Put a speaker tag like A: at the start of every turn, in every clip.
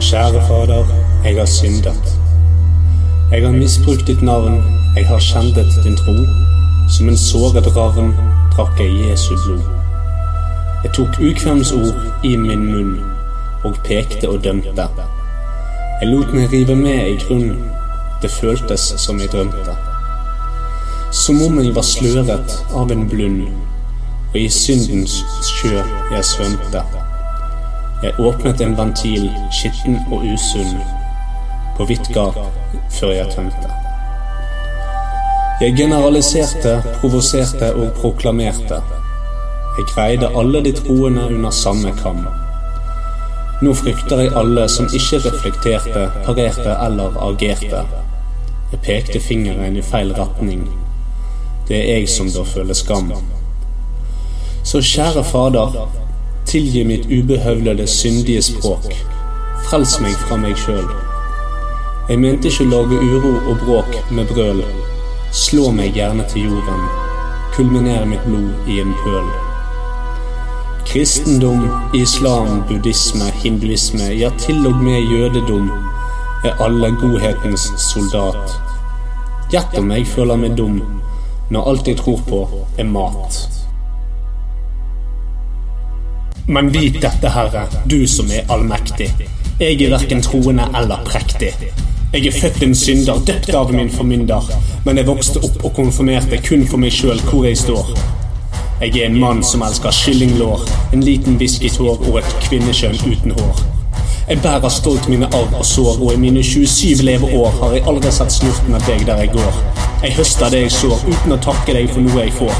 A: Kjære Fader, jeg har syndet. Jeg har misbrukt ditt navn, jeg har skjendet din tro. Som en såret ravn drakk jeg Jesu blod. Jeg tok ukvemsord i min munn og pekte og dømte. Jeg lot meg rive med i grunnen, det føltes som jeg drømte. Som om jeg var sløret av en blund, og i syndens sjø jeg svømte. Jeg åpnet en ventil, skitten og usunn, på vidt gap før jeg tømte. Jeg generaliserte, provoserte og proklamerte. Jeg greide alle de troende under samme kam. Nå frykter jeg alle som ikke reflekterte, parerte eller agerte. Jeg pekte fingeren i feil retning. Det er jeg som bør føle skam. Så kjære Fader, Tilgi mitt ubehøvlede, syndige språk. Frels meg fra meg sjøl. Jeg mente ikke å lage uro og bråk med brøl. Slå meg gjerne til jorden. Kulminer mitt blod i en pøl. Kristendom, islam, buddhisme, hinduisme, ja til og med jødedom, er alle godhetens soldat. Gjett om jeg føler meg dum når alt jeg tror på, er mat. Men vit dette, Herre, du som er allmektig. Jeg er verken troende eller prektig. Jeg er født en synder, døpt av min formynder. Men jeg vokste opp og konfirmerte kun for meg sjøl hvor jeg står. Jeg er en mann som elsker kyllinglår, en liten visket hår og et kvinnekjønn uten hår. Jeg bærer stolt mine arv og sår, og i mine 27 leveår har jeg aldri sett snurten av deg der jeg går. Jeg høster det jeg sår, uten å takke deg for noe jeg får.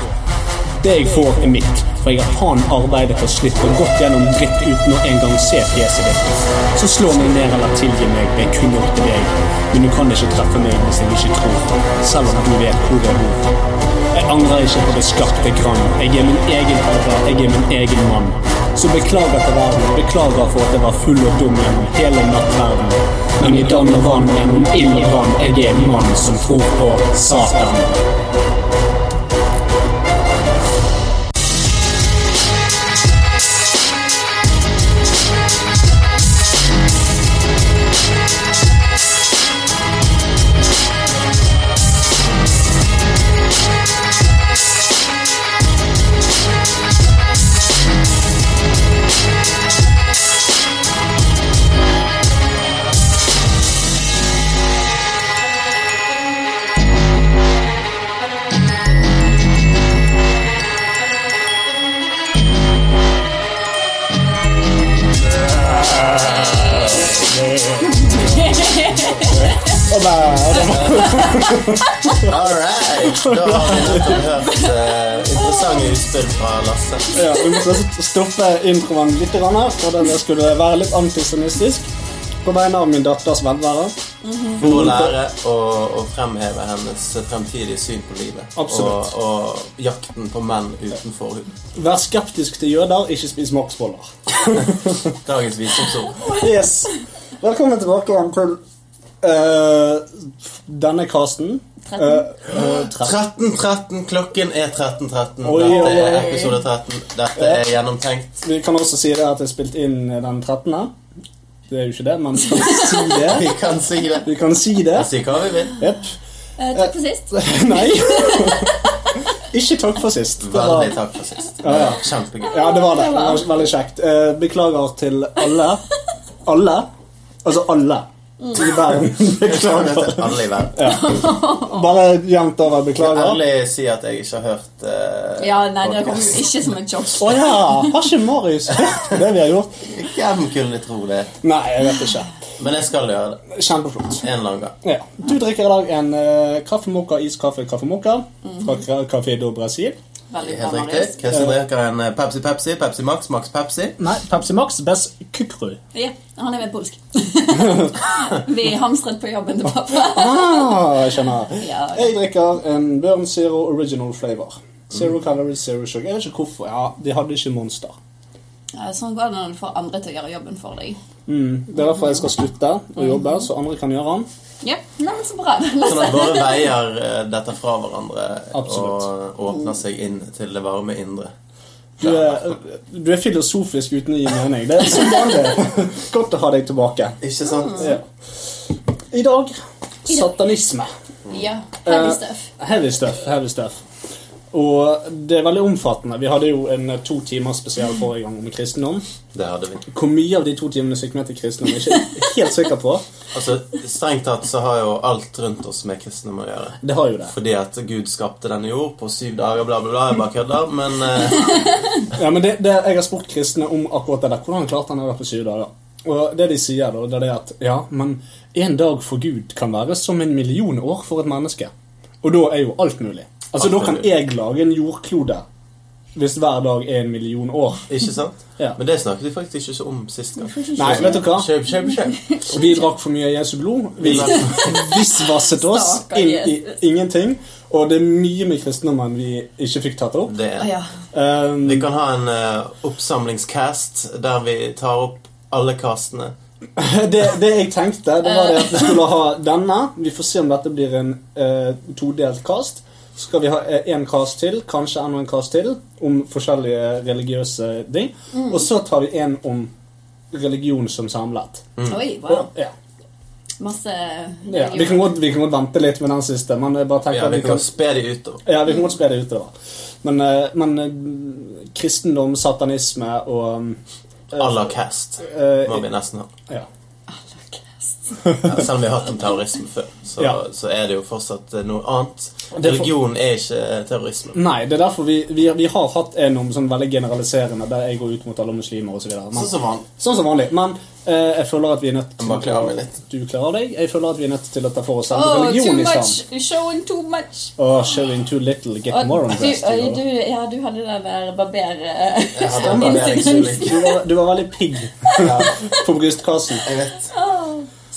A: Det jeg får, er mitt, for jeg har faen arbeidet og slitt og gått gjennom dritt uten å engang se fjeset ditt. Så slå meg ned eller tilgi meg, det er kun opp til deg. Men du kan ikke treffe meg hvis jeg ikke tror, selv om du vet hvor jeg bor. Jeg angrer ikke på det skapte grann. Jeg er min egen herre, jeg er min egen mann. Så beklager til verden, beklager for at jeg var full og dum gjennom hele nattverden. Men i dann og vann, gjennom ild og brann, jeg er en mann som tror på Satan.
B: All right! Da har vi nettopp hørt eh, interessante utspill fra Lasse.
C: Ja, vi må også stoppe introen litt grann her, for den skulle være litt antisonistisk. På vegne av min datters velvære.
B: For å lære og, og fremheve hennes fremtidige syn på livet.
C: Absolutt.
B: Og, og jakten på menn uten forhud.
C: Vær skeptisk til jøder, ikke spis maksboller.
B: Dagens visdomsord.
C: Yes. Velkommen tilbake igjen til eh, denne casten.
D: Tretten.
C: Eh, eh, tretten.
B: 13.13. Klokken er 13.13.
C: Oi,
B: Dette er
C: oi, oi.
B: episode 13. Dette er gjennomtenkt.
C: Vi kan også si det at jeg spilte inn den 13. Det er jo ikke det, men vi kan si det.
B: Vi kan si det.
C: Vi kan si det.
B: Si hva vi vil.
C: Jepp.
D: Eh, takk for sist.
C: Nei. Ikke takk for sist. Det var-
B: Veldig takk for sist. Det var kjempegøy.
C: Ja, det var det. det var veldig kjekt. Eh, Beklager til alle. Alle? Altså alle. I verden.
B: Sånn
C: Beklager.
B: heter alle i verden.
C: Bare jevnt over.
B: Kan
C: Beklager.
B: ærlig si at jeg ikke har hørt eh,
D: Ja, nei, det kom jo
B: podcast.
D: ikke som en sjokk.
C: Å ja! Har ikke Marius hørt det vi har gjort?
B: Hvem kunne tro det?
C: Nei, jeg vet ikke.
B: Men jeg skal gjøre det.
C: Kjempeflott.
B: En eller annen gang.
C: Ja. Du drikker i dag en uh, kaffemokka iskaffe kaffemokka fra Café do Brasil.
D: Veldig bra,
B: Helt
D: Marius.
B: riktig. Kristin drikker en eh, Pepsi Pepsi, Pepsi Max, Max Pepsi.
C: Nei, Pepsi Max Best Kukru.
D: Ja, han er vel polsk. Vi hamstret på jobben til pappa.
C: Ah, jeg skjønner.
D: Ja, ok.
C: Jeg drikker en Burn Zero Original Flavor. Zero calories, zero sugar. Jeg vet ikke hvorfor. Ja, de hadde ikke Monster.
D: Ja, Sånn går det når du får andre til å gjøre jobben for deg.
C: Det er derfor jeg skal slutte å jobbe, så andre kan gjøre den.
D: Ja, nei, men så bra. La
B: Sånn
D: oss-
B: at våre veier eh, detter fra hverandre
C: Absolutt.
B: og åpner seg inn til det varme indre.
A: Du er, du er filosofisk uten å gi mening. Det er som vanlig. Godt å ha deg tilbake.
B: Ikke sant?
A: Ja. I dag satanisme.
D: Ja,
A: Eh,
D: heavy stuff.
A: Heavy stuff. Heavy stuff. Og det er veldig omfattende. Vi hadde jo en eh, to timer spesial forrige gang om kristendom.
B: Det hadde vi.
A: Hvor mye av de to timene som gikk med til kristendom, er jeg ikke helt sikker på.
B: Altså, Strengt tatt så har jo alt rundt oss med kristendom å gjøre.
A: Det har jo det.
B: Fordi at Gud skapte denne jord på syv dager, bla, bla, bla. Jeg bare kødder. Men eh,
A: Ja, men det, det, jeg har spurt kristne om akkurat det der. Hvordan klarte han det der på syv dager? Og det de sier, da, det er det at ja, men en dag for Gud kan være som en million år for et menneske. Og da er jo alt mulig. Altså,
B: Alt
A: da kan
B: mulig.
A: jeg lage en jordklode hvis hver dag er en million år.
B: ikke sant?
A: Ja.
B: Men det snakket vi faktisk ikke så om sist Mm. gang.
A: Nei, vet du hva?
B: Kjøp, kjøp, kjøp.
A: Vi drakk for mye Jesu blod. Vi visvasset oss
D: Stakkars
A: inn i
D: Jesus.
A: ingenting. Og det er mye med kristendommen vi ikke fikk tatt opp.
B: Det
D: Å,
B: er
D: ja.
A: Um,
B: Vi kan ha en eh, oppsamlingscast der vi tar opp alle castene.
A: det, det jeg tenkte, det var det at vi skulle ha denne. Vi får se om dette blir en eh, todelt cast. Så skal vi ha eh, en cast til, kanskje enda en cast til, om forskjellige religiøse ting. Og så tar vi en om religion som samlet.
D: Oi, wow.
A: Og, mm. ja.
D: Masse
A: Ja, vi, kan godt, vi kan godt vente litt med den siste, men jeg bare tenker
B: Ja,
A: at
B: Vi kan spe de utover.
A: Ja, vi kan godt spre det utover. Men, eh, men eh, kristendom, satanisme og um, eh,
B: Aller cast
A: eh,
B: må vi nesten ha.
A: ja.
D: Allergast.
B: Ja, selv om vi har hatt om terrorisme før, så,
A: Ja.
B: så er det jo fortsatt eh, noe annet.
A: Det er for-
B: Religion er ikke eh, terrorisme.
A: Nei, det er derfor vi, vi, vi har hatt en om sånn veldig generaliserende der jeg går ut mot alle muslimer osv.
B: Sånn som han.
A: Sånn som vanlig. Men eh, jeg føler at vi er nødt
B: Jeg bare kler av meg
A: å
B: litt.
A: Du kler av deg. Jeg føler at vi er nødt til å ta for oss
D: Oh,
A: oh,
D: too
A: religion i
D: much!
A: stand.
D: You're showing too much!
A: Oh, showing too little, get
D: Og
A: more on
D: du,
A: breast.
D: øy, du,
A: Du,
D: ja, du hadde den der barber... eh,
B: Jeg hadde en barberingsrulling.
A: du, var, du var veldig pigg på brystkassen.
B: Jeg vet.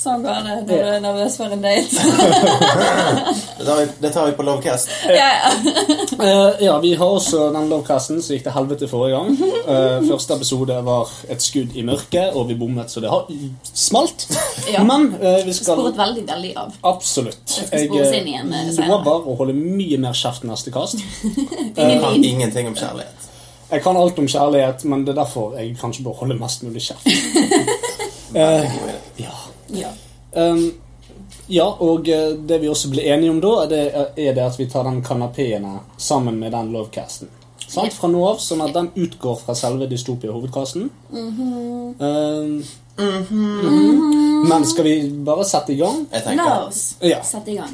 D: Sånn går det når du er nervøs for en date.
B: Det tar vi, det tar vi på Lovecast.
D: ja, ja.
A: Eh, ja, vi har også den lovcasten som gikk til helvete forrige gang. Eh, første episode var et skudd i mørket, og vi bommet så det har smalt.
D: Ja.
A: Men eh, vi skal
D: Sporet veldig, veldig av.
A: Absolutt.
D: Det skal spores
A: eh,
D: inn igjen, eh, senere.
A: lover å holde mye mer kjeft neste kast.
B: Jeg kan ingenting om kjærlighet.
A: Jeg kan alt om kjærlighet, men det er derfor jeg kanskje bør holde mest mulig kjeft.
B: Veldig god idé.
A: Ja.
D: Ja.
A: Um, ja, og eh, det vi også ble enige om da, er det, er det at vi tar den kanapeene sammen med den lovcasten. Sant? Fra nå av, sånn at den utgår fra selve dystopia-hovedkasten.
D: Mhm.
A: um, mhm. Men skal vi bare sette i gang?
B: Jeg
D: La
B: tenker
D: oss
A: Ja.
D: sette i gang.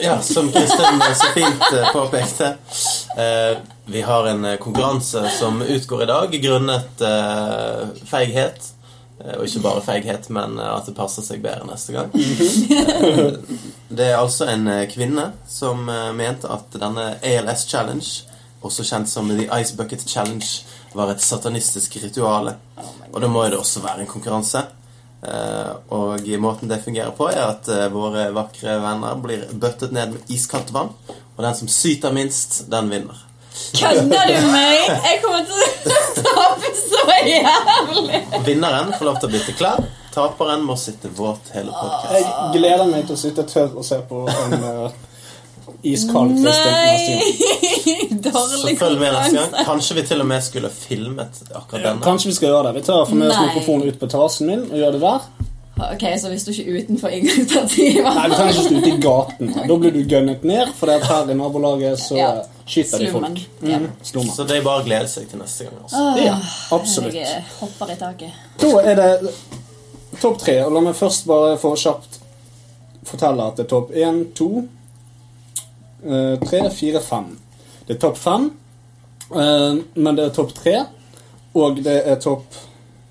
B: Ja, som Kristin så fint eh, påpekte. eh, Vi har en eh, konkurranse som utgår i dag grunnet eh, feighet. Eh, Og ikke bare feighet, men eh, at det passer seg bedre neste gang. Eh, Det er altså en eh, kvinne som eh, mente at denne ALS Challenge, også kjent som The Ice Bucket Challenge, var et satanistisk rituale. Og da må jo det også være en konkurranse. Eh, og måten det fungerer på, er at eh, våre vakre venner blir bøttet ned med iskaldt vann. Og den som syter minst, den vinner.
D: Kødder du med meg? Jeg kommer til å tape så jævlig!
B: Vinneren får lov til å bytte klær. Taperen må sitte våt hele podkasten.
A: Jeg gleder meg til å sitte tørr og se på en eh, iskald Kristin neste gang.
D: Nei!
B: Så
D: Dårlig
B: følg med neste
D: konkurranse.
B: gang. Kanskje vi til og med skulle filmet akkurat denne.
A: Kanskje vi skal gjøre det. Vi tar for med oss
D: Nei.
A: mikrofonen ut på terrassen min og gjør det der.
D: Ok, så hvis du ikke er utenfor inngangspartiet
A: Nei, vi trenger ikke stå ute i gaten. Da blir du gønnet ned, for det at her i nabolaget så
D: Ja.
A: skyter de
D: Slummen.
A: folk. Mm.
D: Ja.
A: Slummen.
B: Så det er bare å glede seg til neste gang. Altså.
A: Ja, absolutt.
D: Jeg eh, hopper i taket.
A: Da er det topp tre. Og la meg først bare få kjapt fortelle at det er topp én, to, eh, tre, fire, fem. Det er topp fem, eh, men det er topp tre, og det er topp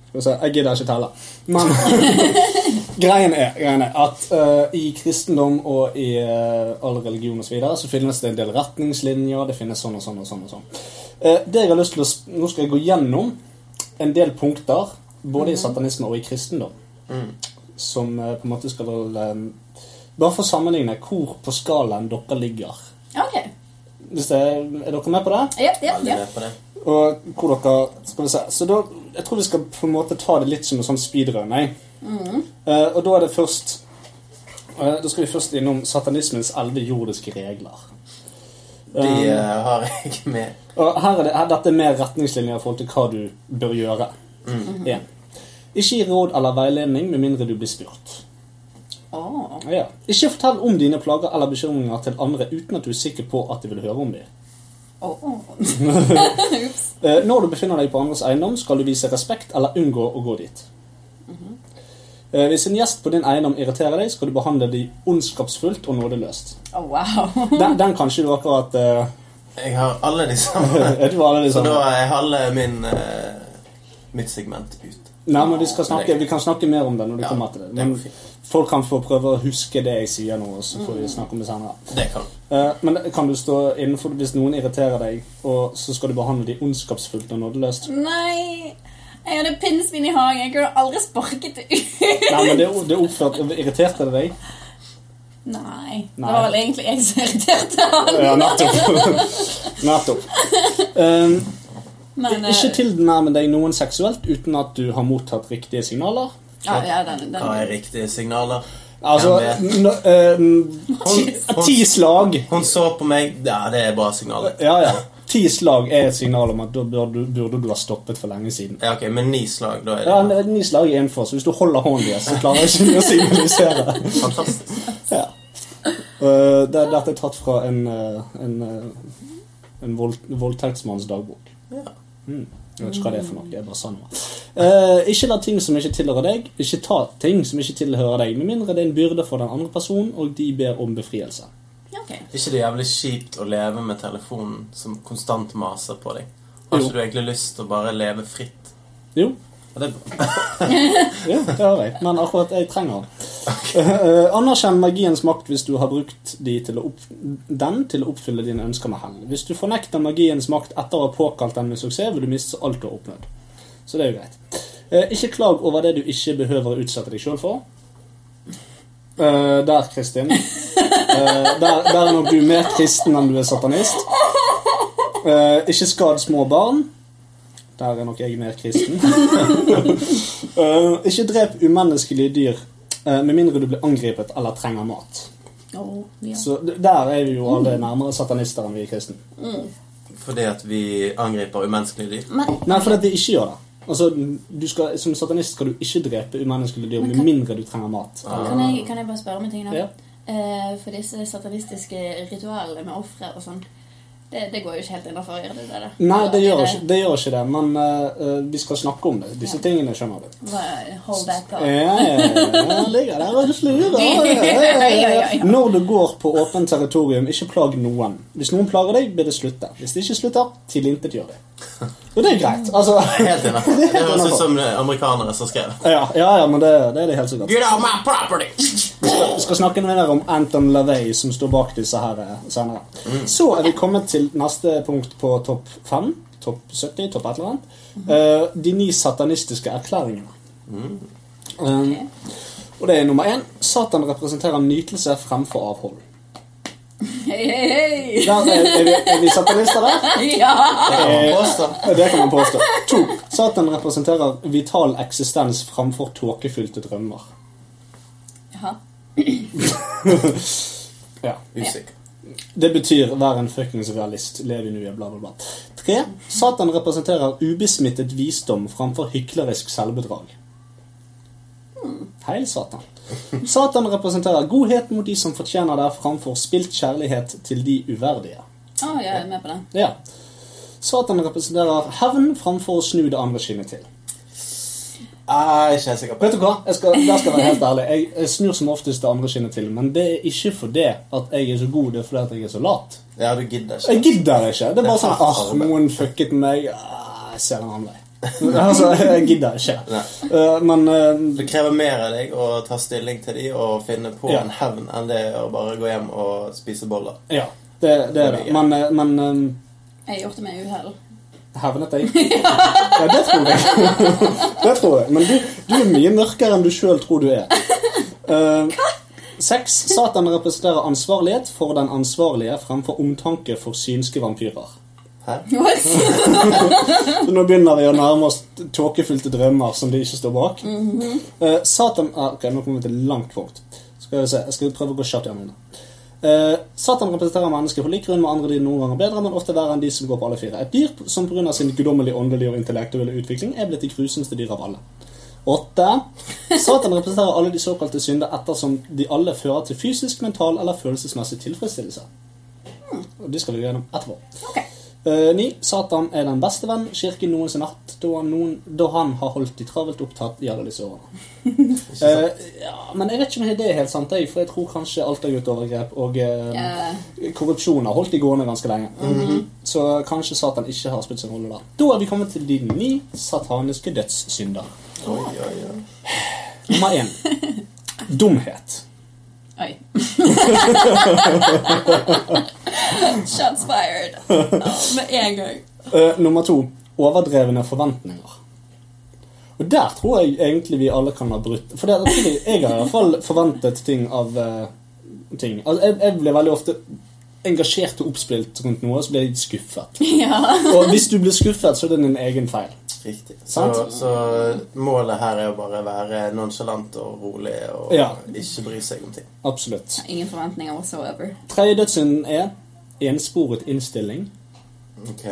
A: Skal vi se, jeg gidder ikke telle. Men greien, er, greien er at eh, i kristendom og i eh, all religion osv. Så, videre, så finnes det en del retningslinjer. Det finnes sånn og sånn og sånn. og sånn. Eh, det jeg har lyst til å, sp- Nå skal jeg gå gjennom en del punkter, både i satanisme og i kristendom, som eh, på en måte skal eh, Bare for å sammenligne hvor på skalaen dere ligger.
D: Ok.
A: Hvis det, er dere med på det?
D: Ja, ja,
B: Veldig
D: ja.
B: med på det.
A: Og hvor dere Skal vi se. Så da Jeg tror vi skal på en måte ta det litt som en sånn speedrun. jeg. Eh, og da er det først eh, Da skal vi først innom satanismens elleve jordiske regler.
B: De
A: Eh,
B: eh, har jeg med.
A: og her er det, her, dette er mer retningslinjer i forhold til hva du bør gjøre.
B: Mm.
A: En. Ikke gi råd eller veiledning med mindre du blir spurt.
D: Åh.
A: Ja. Ikke fortell om dine plager eller bekymringer til andre uten at du er sikker på at de vil høre om dem.
D: Åh. Ups.
A: Eh, Når du befinner deg på andres eiendom, skal du vise respekt eller unngå å gå dit.
B: Mhm.
A: Eh, Hvis en gjest på din eiendom irriterer deg, skal du behandle dem ondskapsfullt og nådeløst.
D: Åh, wow.
A: Den, den kan ikke du akkurat eh,
B: Jeg har alle de samme.
A: er du liksom? alle de
B: Så da
A: samme?
B: er halve min eh, mitt segment ute.
A: Nei, men vi, skal snakke, vi kan snakke mer om det når du kommer til det.
B: det går
A: Men
B: fint.
A: folk kan få prøve å huske det jeg sier nå, og så får vi snakke om det senere.
B: Det kan
A: Eh, Men kan du stå innenfor hvis noen irriterer deg, og så skal du behandle dem ondskapsfullt og nådeløst?
D: Nei. Jeg hadde pinnsvin i hagen. Jeg kunne aldri sparket det ut.
A: Nei, men det, det oppførte, irriterte det deg?
D: Nei. Det
A: Nei.
D: var vel egentlig jeg som irriterte han.
A: Ja, nettopp. nettopp. Um,
D: Men, eh,
A: ikke tilnærme deg noen seksuelt uten at du har mottatt riktige signaler.
D: Ja, ja, den, den.
B: Hva er riktige signaler?
A: Altså
B: Ja, men-
A: n um,
B: Hun,
A: Ti
B: hun,
A: slag.
B: hun så på meg Ja, det er bra signaler.
A: Ja, ja. Ti slag er et signal om at da burde, du- burde du ha stoppet for lenge siden.
B: Ja, ok, Men ni slag, da
A: Ja,
B: er det
A: n- Ni slag er innenfor, så hvis du holder hånden deres, så klarer ikke du å signalisere.
B: fantastisk.
A: Ja. Uh, det, dette er tatt fra en, uh, en, uh, en vold, voldtektsmanns dagbok.
B: Ja.
A: Mm. Jeg vet ikke hva det er for noe. Jeg bare sa noe. Eh, ikke la ting som ikke tilhører deg, ikke ta ting som ikke tilhører deg, med mindre det er en byrde for den andre personen, og de ber om befrielse.
D: Ja, ok.
B: Er ikke det jævlig kjipt å leve med telefonen som konstant maser på deg? Har
A: Jo.
B: ikke du egentlig lyst til å bare leve fritt?
A: Jo,
B: Ja, det er bra.
A: ja, det har jeg, men akkurat jeg trenger den. Eh, anerkjenn magiens makt hvis du har brukt de til å opp, den til å oppfylle dine ønsker med hell. Hvis du fornekter magiens makt etter å ha påkalt den med suksess, vil du miste alt du har oppnådd. Så det er jo greit. Eh, ikke klag over det du ikke behøver å utsette deg sjøl for. Eh, der, Kristin. Eh, der, der er nok du mer kristen enn du er satanist. Eh, ikke skad små barn. Der er nok jeg mer kristen. Eh, ikke drep umenneskelige dyr eh, med mindre du blir angrepet eller trenger mat.
D: Åh, ja.
A: Så d- der er vi jo alle nærmere satanister enn vi er kristne.
B: Fordi at vi angriper umenneskelige dyr?
D: Men
A: Nei, fordi at vi ikke gjør det. Altså, du skal, Som satanist skal du ikke drepe umenneskelige dyr med mindre du trenger mat.
D: kan jeg, kan jeg bare spørre om en ting, da?
A: Ja.
D: Eh, for disse satanistiske ritualene med ofre og sånn, det, det går jo ikke helt innafor. Gjør det det? da?
A: Nei, det gjør
D: Eller er
A: ikke det, gjør ikke det men eh, eh, vi skal snakke om det. Disse tingene skjønner du.
D: Hva- Hold that
A: Ja,
D: thought.
A: jeg ligger der og slurer.
D: Ja, ja, ja.
A: Når du går på åpent territorium, ikke plag noen. Hvis noen plager deg, bør det slutte. Hvis det ikke slutter, tilintetgjør det. Og det er greit. Altså,
B: Helt enig. Det høres ut
A: innenfor.
B: som amerikanere som skrev.
A: Ja, ja, ja men det, det er det helt sikkert.
B: Get out my property!
A: Vi skal snakke mer om Anton LaVey, som står bak disse her eh, senere. Så er vi kommet til neste punkt på topp 5. Topp 70, topp et eller annet. Eh, de ni satanistiske erklæringene. Um,
D: Ok.
A: og det er nummer én. Satan representerer nytelse fremfor avhold.
D: Hei, hei,
A: Der er, er, vi, er vi satanister der?
D: hei! Ja!
B: Det kan man påstå.
A: Det kan man påstå. To. Satan representerer vital eksistens fremfor tåkefylte drømmer.
D: Jaha.
A: Ja.
B: Usikker.
A: Det betyr 'vær en fuckings realist', lev i nuet, bla, bla, bla. Tre. Satan representerer ubesmittet visdom framfor hyklerisk selvbedrag. Heil Satan. Satan representerer godhet mot de som fortjener det, framfor spilt kjærlighet til de uverdige.
D: Å, jeg er med på den.
A: Ja. Satan representerer hevn framfor å snu det andre kinnet til.
B: Ah, ikke helt sikker på.
A: Vet du hva? Jeg skal, der skal jeg være helt ærlig. Jeg, jeg snur som oftest det andre kinnet til, men det er ikke fordi at jeg er så god, det er fordi at jeg er så lat.
B: Ja, du gidder ikke.
A: Jeg gidder ikke. Det er bare sånn
B: Det
A: ah,
B: er hardt arbeid.
A: noen fucket med meg. Ah, jeg ser den andre. altså, jeg gidder ikke. Eh, men eh,
B: Det krever mer av deg å ta stilling til de og finne på
A: Ja.
B: en hevn enn det å bare gå hjem og spise boller.
A: ja, det, det er det. Men, eh, men eh,
D: Jeg gjorde det med uhell.
A: hevnet jeg? Ja, det tror jeg. det tror jeg. Men du, du er mye mørkere enn du sjøl tror du er. Eh, Seks. Satan representerer ansvarlighet for den ansvarlige fremfor omtanke for synske vampyrer.
B: Hæ?
D: What?
A: Så nå begynner vi å nærme oss tåkefylte drømmer som de ikke står bak. Eh, Satan ah, Ok, nå kommer vi til langt fort. Skal vi se, Jeg skal prøve å gå kjapt gjennom det. Eh, Satan representerer mennesker på lik grunn med andre de noen ganger bedre, men ofte verre enn de som går på alle fire. Et dyr som pga. sin guddommelige, åndelige og intellektuelle utvikling er blitt det grusomste dyret av alle. Åtte. Satan representerer alle de såkalte synder ettersom de alle fører til fysisk, mental eller følelsesmessig tilfredsstillelse. Og de skal vi gå gjennom etterpå. Eh, Ni, Satan er den beste venn kirken noensinne har hatt, da han, noen, da han har holdt de travelt opptatt i alle disse årene. Eh, ja, men jeg vet ikke om det er helt sant, jeg, for jeg tror kanskje alt er gutteovergrep og eh,
D: Ja.
A: korrupsjon har holdt de gående ganske lenge. Så kanskje Satan ikke har spilt sin rolle der. Da er vi kommet til de ni sataniske dødssynder.
B: Oi, oi, oi.
A: Nummer én dumhet.
D: Oi. Shots fired. Med en gang.
A: Eh, nummer to overdrevne forventninger. Og der tror jeg egentlig vi alle kan ha brutt For der, tror jeg, jeg har i hvert fall forventet ting av eh, ting. Altså, jeg, jeg ble veldig ofte engasjert og oppspilt rundt noe, og så ble jeg skuffet.
D: Ja.
A: Og hvis du blir skuffet, så er det din egen feil.
B: Riktig. Så,
A: Sant?
B: så målet her er å bare være nonchalant og rolig og
A: Ja.
B: ikke bry seg om ting.
A: Absolutt.
D: Ingen forventninger whatsoever.
A: Tredje dødssynden er ensporet innstilling.
B: Ok.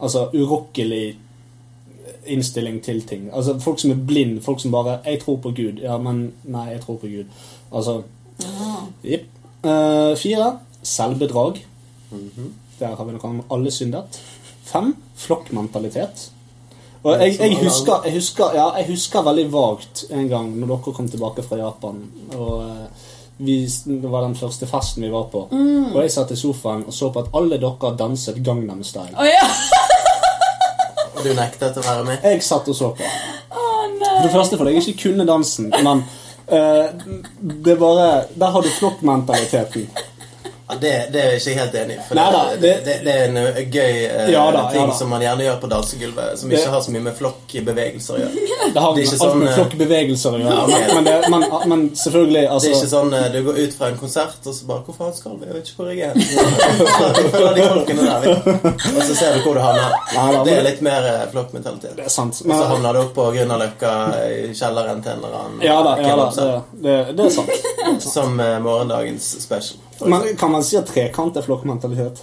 A: Altså urokkelig innstilling til ting. Altså Folk som er blind, folk som bare 'Jeg tror på Gud'. Ja, men nei, jeg tror på Gud. Altså
D: Jaha.
A: Jepp. Eh, fire. Selvbedrag.
B: Mhm.
A: Der har vi noe om alle syndet. Fem. Flokkmentalitet. Og jeg, jeg, husker, jeg, husker, ja, jeg husker veldig vagt en gang når dere kom tilbake fra Japan. Og eh, vi, Det var den første festen vi var på. Og jeg satt i sofaen og så på at alle dere danset Gangnam Style.
D: Å ja!
B: Og du nektet å være med?
A: Jeg satt og så på.
D: Å nei!
A: For det første fordi jeg ikke kunne dansen, men eh, det er bare Der har du flokkmentaliteten.
B: Ja, det, det er jeg ikke helt enig i. For
A: Nei da,
B: det, det,
A: det-
B: det, er en ø, gøy ø,
A: Ja da, ja
B: ting
A: da.
B: som man gjerne gjør på dansegulvet, som
A: Det-
B: ikke har så mye med flokkbevegelser å gjøre.
A: Det har
B: Det er
A: alt med
B: ikke sånn, eh,
A: flokkbevegelser å gjøre.
B: Ja, ok.
A: Men, det, men, men selvfølgelig,
B: Det
A: altså
B: er ikke sånn eh, du går ut fra en konsert og så bare 'Hvor faen skal vi? Jeg vet ikke hvor jeg er.' Så du følger de folkene der, vi. Og så ser du hvor du
A: Nei da,
B: havner.
A: men-
B: Det er litt mer eh, flokkmentalitet.
A: Det er sant.
B: Og så
A: Men,
B: havner du opp på Grünerløkka i kjelleren til en eller annen
A: ja da, ja da. Det,
B: kebabsal.
A: det, det er sant.
B: Som eh, morgendagens special.
A: Men kan man si at trekant er flokkmentalitet?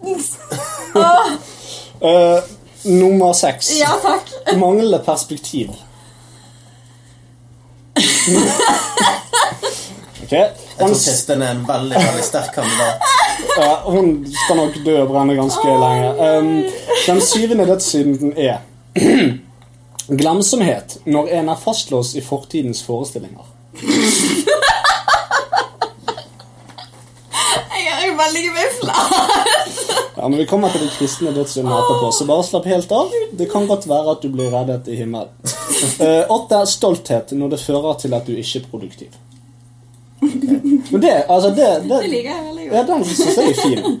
D: Åh,
A: Eh, nummer seks.
D: ja takk.
A: Manglende perspektiv. Ok,
B: Jeg
A: hun,
B: tror Kristin er en veldig veldig sterk kandidat.
A: ja, hun skal nok dø og brenne ganske lenge. Um, den syvende dødssynden er glemsomhet når en er fastlåst i fortidens forestillinger.
D: Jeg er veldig gevifla.
A: Ja, Når vi kommer til de kristne dødssyndene etterpå, så bare slapp helt av. Det kan godt være at du blir reddet i himmelen. Eh, Åtte er stolthet når det fører til at du ikke er produktiv. Men det, altså det,
D: Det
A: det
D: liker jeg veldig
A: Ja,
D: godt.
A: den syns jeg er fin.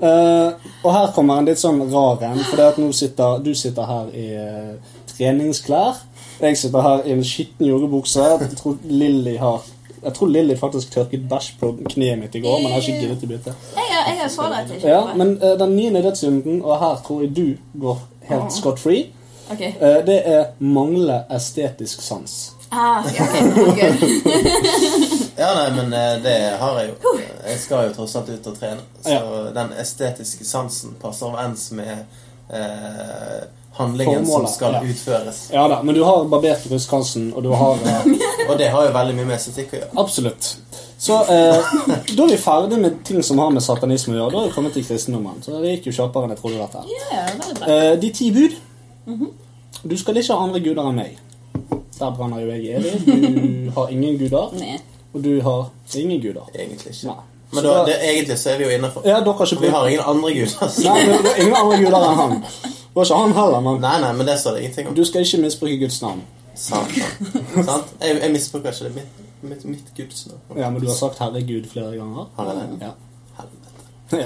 A: Eh, og her kommer en litt sånn rar en, for det at nå sitter du sitter her i eh, treningsklær. Jeg sitter her i en skitten joggebukse. Jeg tror Lilly har Jeg tror Lilly faktisk tørket bæsj på kneet mitt i går, men har ikke giddet å bytte.
D: Jeg er, jeg er forberedt til
A: Ja, men eh, den niende dødssynden, og her tror jeg du går helt scot free,
D: Ok.
A: eh, det er mangle estetisk sans.
D: Ah, ok, ok, good.
B: Ja, nei, men eh, det har jeg jo. Jeg skal jo tross alt ut og trene. Så
A: Ja.
B: den estetiske sansen passer overens med eh, handlingen som
A: Formålet,
B: skal
A: ja.
B: utføres.
A: Ja da, men du har barbert brystkansen, og du har eh,
B: Og det har jo veldig mye med estetikk å gjøre.
A: Absolutt. Så eh, da er vi ferdig med ting som har med satanisme å gjøre. Da er vi kommet til kristendommen. Så det gikk jo kjappere enn jeg trodde dette. her.
D: Ja, veldig bra.
A: Eh, de ti bud. Du skal ikke ha andre guder enn meg. Der brenner jo jeg i evig. Du har ingen guder,
D: Nei.
A: og du har ingen guder.
B: Egentlig ikke.
A: Nei.
B: Men da, det, egentlig så er vi jo innafor.
A: Ja, dere har ikke
B: Vi har ingen andre guder. så-
A: Nei, men det er ingen andre guder enn han. Det var ikke han heller, men
B: Nei, nei, men det står det ingenting om.
A: du skal ikke misbruke Guds navn.
B: Satan. Sant? Jeg, jeg misbruker ikke det. Mitt, mitt, mitt gudsnavn.
A: Ja, men du har sagt 'herregud' flere ganger.
B: Har jeg det?
A: Ja.
B: Helvete.
A: ja.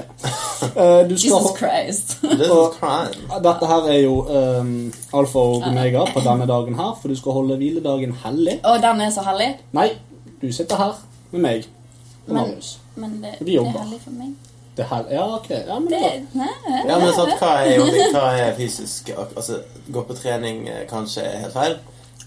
A: Eh, du skal
D: Jesus
A: ha
D: Christ.
B: This
A: Og-
B: is crime.
A: Dette her er jo ehm, alfa og omega på denne dagen her, for du skal holde hviledagen hellig.
D: Og den er så hellig.
A: Nei, du sitter her med meg og
D: Men-
A: Marius.
D: Men det,
A: Vi
D: det er
A: jobber.
D: hellig for meg.
A: Det her, ja, ok. Ja, men det
D: Det,
A: er bra.
D: nei, nei.
B: Ja, men sant, hva er, hva er fysisk ak- Altså, gå på trening eh, kanskje er helt feil.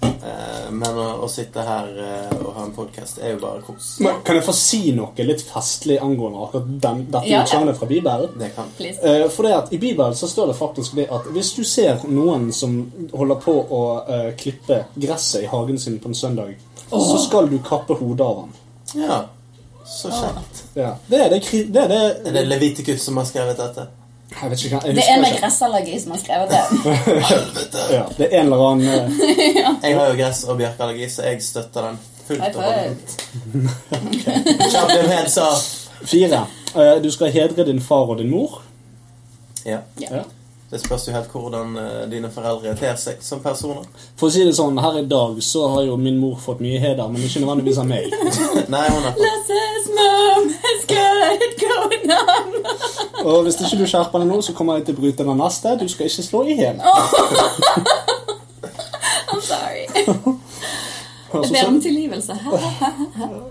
B: Eh, Men å, å sitte her eh, og ha en podkast er jo bare kos.
A: Men Kan jeg få si noe litt festlig angående akkurat den, dette
D: Ja.
A: utsagnet fra Bibelen?
B: Det kan.
D: Please.
A: Eh, for det at I Bibelen så står det faktisk det at hvis du ser noen som holder på å eh, klippe gresset i hagen sin på en søndag, så skal du kappe hodet av ham.
B: Ja. Så kjekt.
A: Ja. Det er det, kri- det, er det
B: Er det Levitikus som har skrevet dette?
A: Jeg vet ikke hva jeg
D: Det
A: husker
D: er med
A: ikke.
D: gressallergi som har skrevet det.
B: Helvete!
A: Ja, det er en eller annen eh,
B: Jeg har jo gress- og bjørkeallergi, så jeg støtter den
D: High
B: fullt og
D: five.
B: holdent. Shout them heads up.
A: Fire. Eh, du skal hedre din far og din mor.
B: Ja.
A: Ja.
B: Det spørs jo helt hvordan eh, dine foreldre ter seg som personer.
A: For å si det sånn, her i dag så har jo min mor fått mye heder, men ikke nødvendigvis av meg.
B: Nei, hun har fått
D: This is mom has got it going on.
A: Og hvis ikke du skjerper deg nå, så kommer jeg til å bryte den neste. Du skal ikke slå i hjel.
D: I'm sorry.
A: Og
D: Jeg
A: så-
D: ber om
A: så-
D: tilgivelse.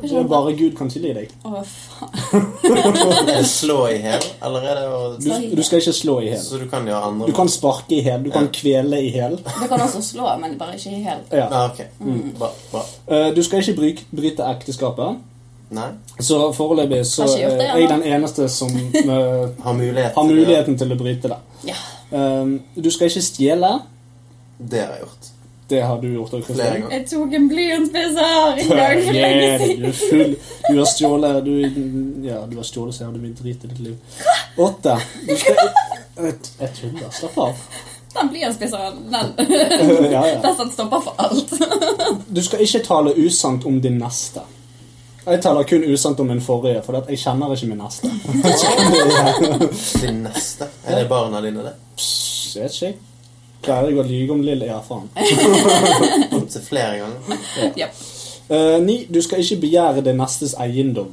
A: Det er bare Gud kan tilgi deg.
D: Å, faen.
B: Er det slå i hæl, eller er det å
A: Du, du skal ikke slå i hjel.
B: Så du kan gjøre andre
A: Du kan sparke i hjel, du kan kvele i hjel.
D: Du kan også slå, men bare ikke helt.
A: Ja.
B: Ja, Ah, ok. Bra. bra.
A: Eh, Du skal ikke bryke, bryte ekteskapet.
B: Nei?
A: Så foreløpig så
D: Har ikke gjort det,
A: eh, er jeg
D: ja.
A: den eneste som eh,
B: Har mulighet
A: har
B: til det.
A: muligheten til å bryte det.
D: Ja.
A: Um, Du skal ikke stjele.
B: Det har jeg gjort.
A: Det har du gjort òg,
B: Flere
A: Kristin.
B: ganger.
D: Jeg tok en blyantbisser en gang for lenge
A: Yeah, du
D: siden.
A: er full. Du har stjålet du, Ja, du har stjålet så jævlig mye drit i ditt liv. Åtte. Du skal Jeg- Jeg tuller. Slapp av.
D: Den blyantbisseren, den,
A: Ja, ja.
D: den sånn stopper for alt.
A: Du skal ikke tale usant om din neste. Jeg taler kun usant om min forrige, for at jeg kjenner ikke min neste.
B: Din neste. Er det barna dine, det?
A: Psst, vet ikke. jeg. Klarer jeg å lyge om lille Ja, faen.
B: Opptil flere ganger.
D: Ja.
A: Eh, ni, du skal ikke begjære det nestes eiendom.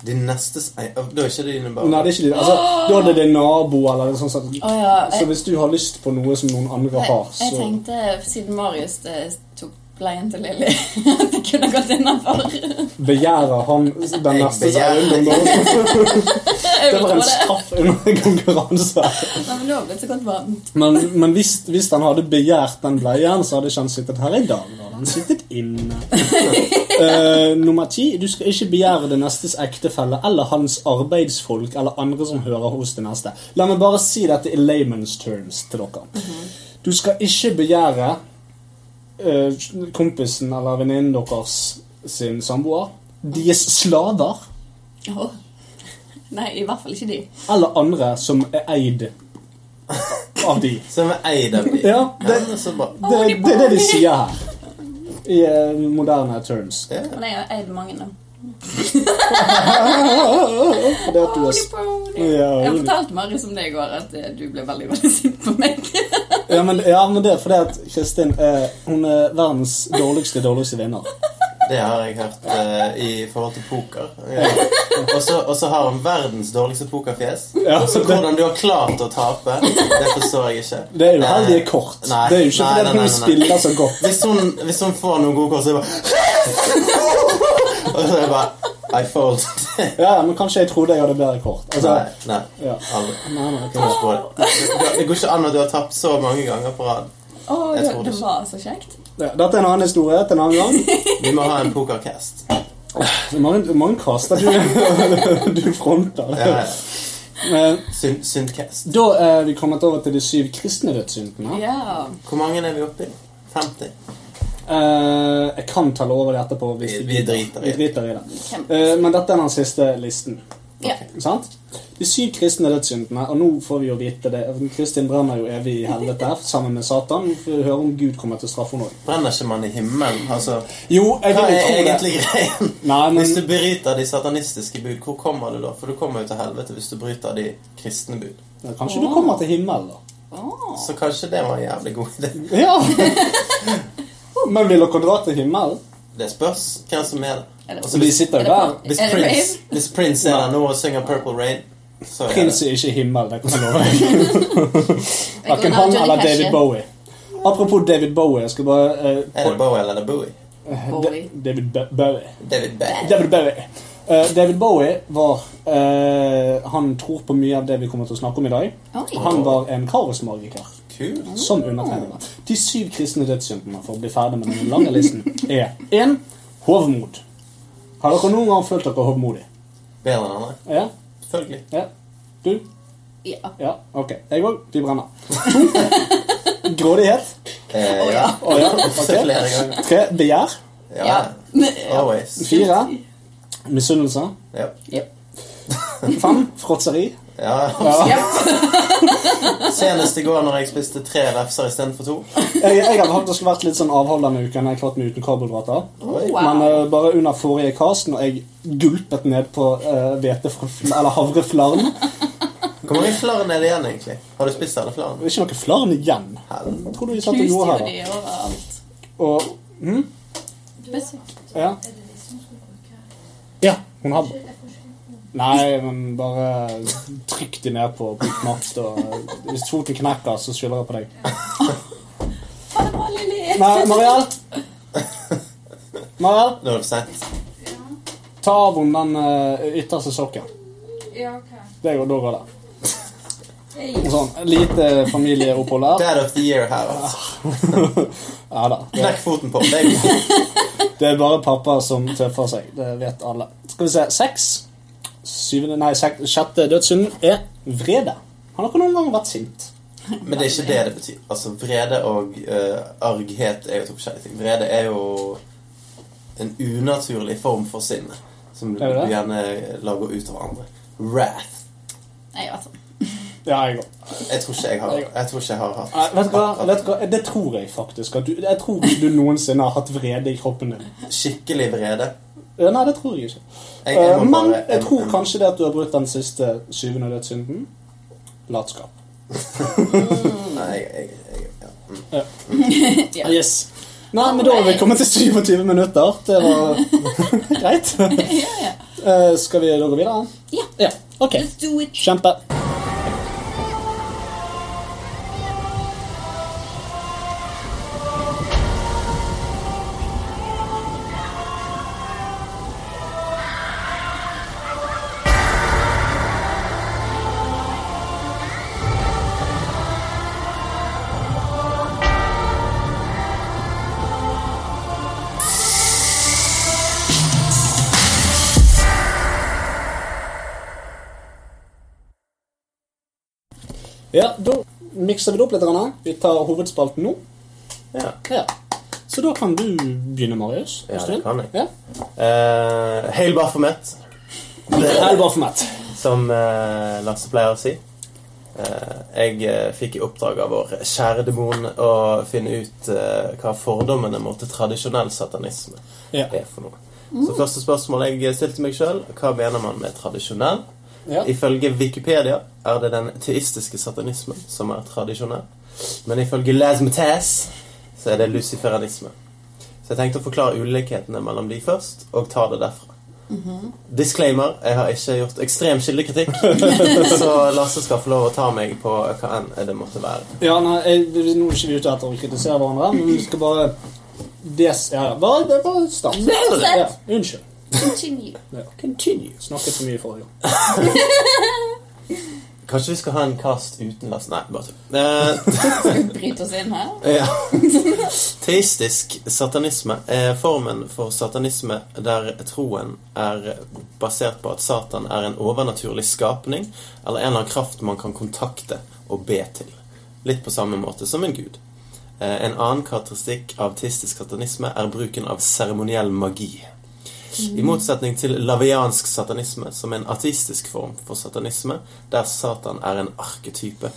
B: Din nestes ei- Å, Da er ikke det dine barn.
A: Nei, det er ikke det. Altså, da er det din nabo, eller noe sånt. sånt.
D: Å ja,
A: Så
D: jeg,
A: hvis du har lyst på noe som noen andre
D: jeg,
A: har,
D: jeg
A: så
D: tenkte, siden Marius eh, tok bleien til Lilly, at det kunne gått innafor.
A: begjærer han den
B: Jeg
A: nestes
B: begjærer-
A: eiendom. da.
D: Jeg
A: Det
D: vil
A: var
D: tro
A: en
D: det.
A: straff under konkurranse.
D: Nei, men nå har det blitt så godt varmt.
A: Men, men hvis, hvis han hadde begjært den bleien, så hadde ikke han sittet her i dag. Da hadde han sittet inne. Eh, nummer ti. Du skal ikke begjære det nestes ektefelle eller hans arbeidsfolk eller andre som hører hos det neste. La meg bare si dette i layman's terms til dere. Du skal ikke begjære eh, kompisen eller venninnen deres sin samboer, deres slaver
D: Åh. Nei, i hvert fall ikke de.
A: eller andre som er eid av de.
B: Som er eid av de.
A: Ja, det-
B: men så bra.
A: Det, det er det de sier her. I eh, moderne terms.
B: Ja.
D: Men jeg har eid mange nå.
A: Fordi at du er s- Ja,
D: Jeg
A: rolig.
D: fortalte Marius om det i går, at eh, du ble veldig veldig sint på meg.
A: Ja, men, ja, men det er fordi at Kristin er, hun er verdens dårligste, dårligste vinner.
B: Det har jeg hørt eh, i forhold til poker. Ja. Og så og så har han verdens dårligste pokerfjes.
A: Ja,
B: Så hvordan du har klart å tape, det forstår jeg ikke.
A: Det er jo heldige
B: Eh,
A: kort.
B: nei,
A: det er jo ikke
B: nei,
A: fordi
B: nei,
A: at hun
B: nei, nei.
A: spiller så godt.
B: Hvis hun, hvis hun får noen gode kort, så er jeg bare Og så er jeg bare I fold.
A: Ja, ja, men kanskje jeg trodde jeg hadde bedre kort. Altså,
B: Nei. nei.
A: Ja.
B: Aldri.
A: nei, nei, ok.
B: Kom oss på det. Du- Det går ikke an at du har tapt så mange ganger på rad.
D: Å,
B: Jeg
D: det,
B: tror det
D: det
B: ikke.
D: var så kjekt.
A: Ja, Dette er en annen historie til en annen gang.
B: Vi må ha en pokercast.
A: Det er Mange, mange kaster du, du fronter.
B: Ja, ja.
A: Men
B: Synd- Syndcast.
A: Da er vi kommet over til de syv kristne dødssyndene.
D: Ja.
B: Hvor mange er vi oppe i? 50?
A: Eh, jeg kan telle over det etterpå. Hvis
B: Vi-
A: du
B: vi
A: gidder.
B: driter
A: vi
B: i det.
A: driter i det.
D: Kjempe.
A: Eh, men dette er den siste listen.
D: ja.
A: Sant? De syv kristne dødssyndene, og nå får vi jo vite det Kristin brenner jo evig i helvete sammen med Satan. Vi får høre om Gud kommer til å straffe henne òg.
B: Brenner ikke man i himmelen? Altså,
A: Jo, jeg
B: hva
A: vil jo
B: er
A: tro det.
B: egentlig greien?
A: Nei, men
B: Hvis du bryter de satanistiske bud, hvor kommer du da? For du kommer jo til helvete hvis du bryter de kristne bud.
A: Ja, Kanskje du kommer til himmelen, da.
D: Åh.
B: Så kanskje det var en jævlig god idé.
A: Ja! Men vil dere dra til himmelen?
B: Det spørs hvem som er
D: Er
B: der.
D: det-
B: Altså,
A: Så de
B: hvis,
A: sitter
D: Er
A: jo
D: det
A: der.
D: bra?
B: hvis,
D: Er det
B: Prince,
D: Rave?
B: hvis Prince er der nå og synger Purple Rain så er det-
A: Prins er ikke i himmelen, det kan jeg love deg.
D: Jeg går
A: Verken
D: ned
A: han
D: Johnny
A: eller
D: Cash
A: David
D: igjen.
A: Bowie. Apropos David Bowie, jeg skal bare eh,
B: Er det Bowie eller er det Bowie?
A: Da-
D: Bowie.
A: David Bo- Bowie.
B: David Bell.
A: David Bowie. Eh, David Bowie var eh, Han tror på mye av det vi kommer til å snakke om i dag.
D: Oi.
A: Han var en kaosmagiker.
B: Kult.
A: Som
D: Ah.
A: undertegnede. De syv kristne dødssyndene for å bli ferdig med den lange listen er 1. Hovmod. Har dere noen gang følt dere hovmodig?
B: Bedre enn andre.
A: Ja?
B: Selvfølgelig.
A: ja? Du?
D: Ja.
A: Ja? Ok. Jeg òg. Vi brenner. To. Grådighet.
D: Oh,
B: Eh, ja.
A: Å ja. Ok.
B: Flere ganger.
A: Tre. Begjær.
B: Ja.
D: Ja.
B: Always.
A: Fire. Misunnelse.
B: Ja.
D: Jep.
A: Fem. Fråtseri.
B: ja.
A: Ja.
B: Senest i går når jeg spiste tre refser istedenfor to.
A: Jeg, jeg har faktisk vært litt sånn avholdende i uken. Jeg har klart meg uten karbohydrater.
B: Oi.
D: Wow.
A: Men eh, bare under forrige cast, når jeg gulpet ned på eh, hvetefl- eller havreflarm Det
B: Hvor mange flarn er det igjen, egentlig? Har du spist alle flarn?
A: er ikke noe flarm igjen.
B: Helvete.
A: Jeg tror du vi satt og
D: Knuste
A: gjorde
D: jo
A: her,
D: de overalt.
A: da. Og, hm? ja. ja, hun hadde Nei, men bare trykk de ned på, på knapt, og hvis foten knekker, så skylder jeg på deg.
D: Ha det bra, Lilly.
A: Nei, Mariell! Mariell,
B: Nå er det for sent.
A: ta av henne den eh, ytterste sokken.
E: Ja, ok.
A: Det går, da går det. Sånn, lite familieopphold her.
B: Dad of the year her, altså.
A: Ja da. Det,
B: Knekk foten på. Det er
A: det er bare pappa som tøffer seg. Det vet alle. Skal vi se. Seks. Syvende, nei, sek, sjette dødssynd er vrede. Har dere noen gang vært sint?
B: Men det er ikke det det betyr. Altså, Vrede og eh, arghet er jo to forskjellige ting. Vrede er jo en unaturlig form for sinne som du
A: Er det det?
B: gjerne lager ut av andre. Wrath.
D: Nei, altså.
A: Ja, jeg òg.
B: Jeg tror ikke jeg har, jeg tror ikke jeg har hatt
A: Nei, Vet du hva? Vet du hva? Det tror jeg faktisk. At du, jeg tror ikke du noensinne har hatt vrede i kroppen din.
B: skikkelig vrede.
A: Ja, Nei, det tror jeg ikke.
B: Jeg, jeg
A: Eh,
B: må
A: Men
B: bare-
A: jeg tror kanskje det at du har brukt den siste syvende dødssynden. Latskap.
B: Nei, jeg, jeg, jeg, ja. mm.
D: Ja.
A: Yes. Nei, men da har vi kommet til 27 minutter. Det var greit.
D: Ja, ja.
A: Eh, skal vi da gå videre?
D: Ja.
A: Ja, ok.
D: Let's do it.
A: Kjempe. Ja, da mikser vi det opp litt. Rane. Vi tar hovedspalten nå.
B: ja.
A: Ja. Så da kan du begynne, Marius.
B: Ja,
A: hvis du vil.
B: det kan jeg.
A: Ja.
B: Eh, Hail Baphomet.
A: Det er bare for meg.
B: Som eh, Lasse pleier å si. Eh, jeg eh, fikk i oppdrag av vår kjære demon å finne ut eh, hva fordommene mot tradisjonell satanisme
A: Ja.
B: er for noe. Så første spørsmål jeg eh, stilte meg sjøl, hva mener man med tradisjonell?
A: Ja.
B: Ifølge Wikipedia er det den teistiske satanismen som er tradisjonell. Men ifølge Lasmetas så er det luciferanisme. Så jeg tenkte å forklare ulikhetene mellom de først, og ta det derfra. Disclaimer jeg har ikke gjort ekstrem kildekritikk, så Lasse skal få lov å ta meg på hva enn det måtte være.
A: Ja, nei, jeg, vi- nå er ikke vi ute etter å kritisere hverandre, men vi skal bare des, ja, ja. Bare, bare- bare start.
D: Fortsett.
A: Ja, unnskyld.
D: Continue.
A: Continue. Snakket for mye forrige gang.
B: Kanskje vi skal ha en cast uten Lasse? Nei, bare tull. Eh,
D: Bryt oss inn her.
B: Ja. Teistisk satanisme er formen for satanisme der troen er basert på at Satan er en overnaturlig skapning eller en eller annen kraft man kan kontakte og be til. Litt på samme måte som en gud. Eh, En annen karakteristikk av teistisk satanisme er bruken av seremoniell magi. I motsetning til laviansk satanisme, som er en ateistisk form for satanisme, der Satan er en arketype,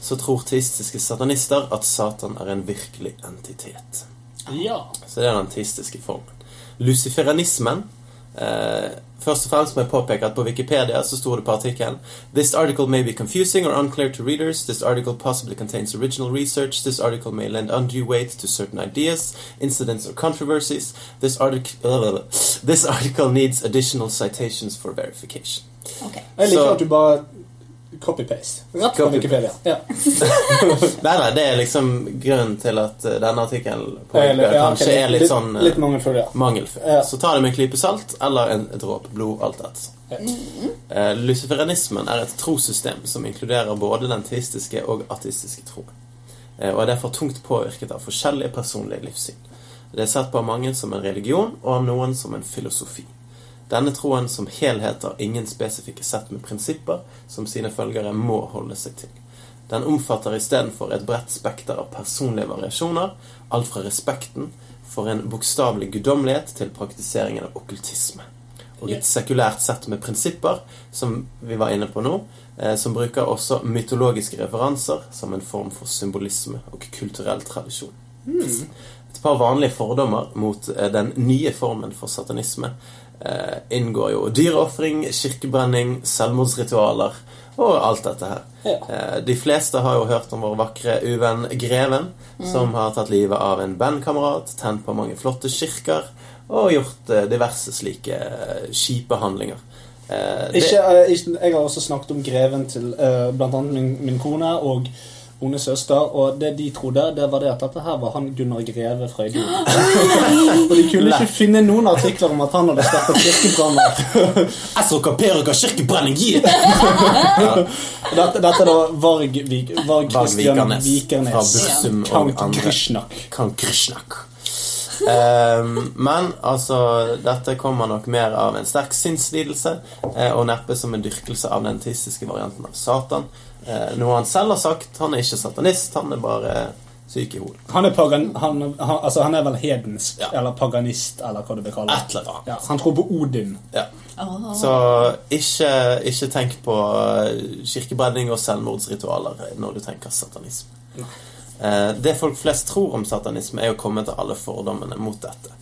B: så tror teistiske satanister at Satan er en virkelig entitet.
A: Ja.
B: Så det er den teistiske formen. Luciferanismen eh, Først og fremst må jeg påpeke at på Wikipedia så sto det på artikkelen This article may be confusing or unclear to readers. This article possibly contains original research. This article may lend undue weight to certain ideas, incidents or controversies. This, artic this article needs additional citations for verification.
D: Ok.
A: Jeg liker
B: Så-
A: at du bare Copy-paste. Rett fra
B: Copy-paste.
A: Wikipedia. Ja.
B: Nei, nei, det er liksom grunnen til at eh, denne artikkelen på
A: Eller-
B: Wikipedia
A: ja, ok,
B: kanskje er litt sånn eh,
A: Litt mange følger.
B: mangelfull.
A: Ja.
B: Så ta det med en klype salt eller en dråpe blod, alt etter. Eh, Luciferianismen er et trossystem som inkluderer både den teistiske og ateistiske troen, eh, og er derfor tungt påvirket av forskjellige personlige livssyn. Det er sett på av mange som en religion, og av noen som en filosofi. Denne troen som helhet har ingen spesifikke sett med prinsipper som sine følgere må holde seg til. Den omfatter istedenfor et bredt spekter av personlige variasjoner, alt fra respekten for en bokstavelig guddommelighet til praktiseringen av okkultisme. Og et sekulært sett med prinsipper, som vi var inne på nå, eh, som bruker også mytologiske referanser som en form for symbolisme og kulturell tradisjon. Hmm. Et par vanlige fordommer mot eh, den nye formen for satanisme eh, inngår jo dyreofring, kirkebrenning, selvmordsritualer og alt dette her.
A: Ja.
B: Eh, De fleste har jo hørt om vår vakre uvenn Greven, som har tatt livet av en bandkamerat, tent på mange flotte kirker og gjort eh, diverse slike eh, kjipe handlinger. Eh, det-
A: Ikke, eh, ikke, jeg har også snakket om greven til eh, blant annet min, min kone og hennes søster, og det de trodde, det var det at dette her var han Gunnar Greve fra Idol. og de kunne ikke finne noen artikler om at han hadde startet kirkebranner.
B: SOK Perika kirkebrenning, yeah!
A: Dette, dette er da Varg, Vik, Varg
B: Varg
A: Christian
B: Vikernes fra
A: Vikernes.
B: Bursum og
A: Count
B: andre.
A: Grishnak.
B: Kan krysjnak. Ehm, men altså, dette kommer nok mer av en sterk sinnslidelse, eh, og neppe som en dyrkelse av den teistiske varianten av Satan. Eh, noe han selv har sagt. Han er ikke satanist, han er bare syk i hodet.
A: Han er, pagan, han, han, altså han er vel hedensk,
B: Ja.
A: eller paganist, eller hva du vil kalle
B: Et
A: det.
B: eller annet.
A: Ja, han tror på Odin.
B: Ja.
D: Åh.
B: Så ikke, ikke tenk på eh, kirkebrenning og selvmordsritualer når du tenker satanisme. Eh, det folk flest tror om satanisme, er å komme til alle fordommene mot dette.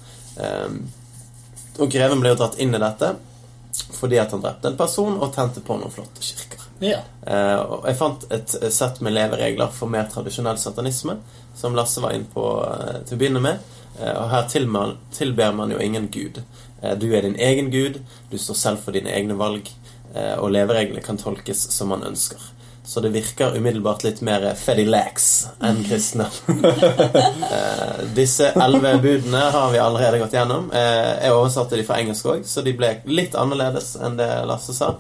B: Ehm, og greven ble jo dratt inn i dette fordi at han drepte en person og tente på noen flotte kirker.
A: Ja.
B: Eh, og jeg fant et sett med leveregler for mer tradisjonell satanisme, som Lasse var inne på eh, til å begynne med. Eh, og her tilmer, tilber man jo ingen gud. Eh, du er din egen gud, du står selv for dine egne valg, eh, og levereglene kan tolkes som man ønsker. Så det virker umiddelbart litt mer eh, fedilax enn kristne. Eh, disse elleve budene har vi allerede gått gjennom. Eh, jeg oversatte de fra engelsk òg, så de ble litt annerledes enn det Lasse sa.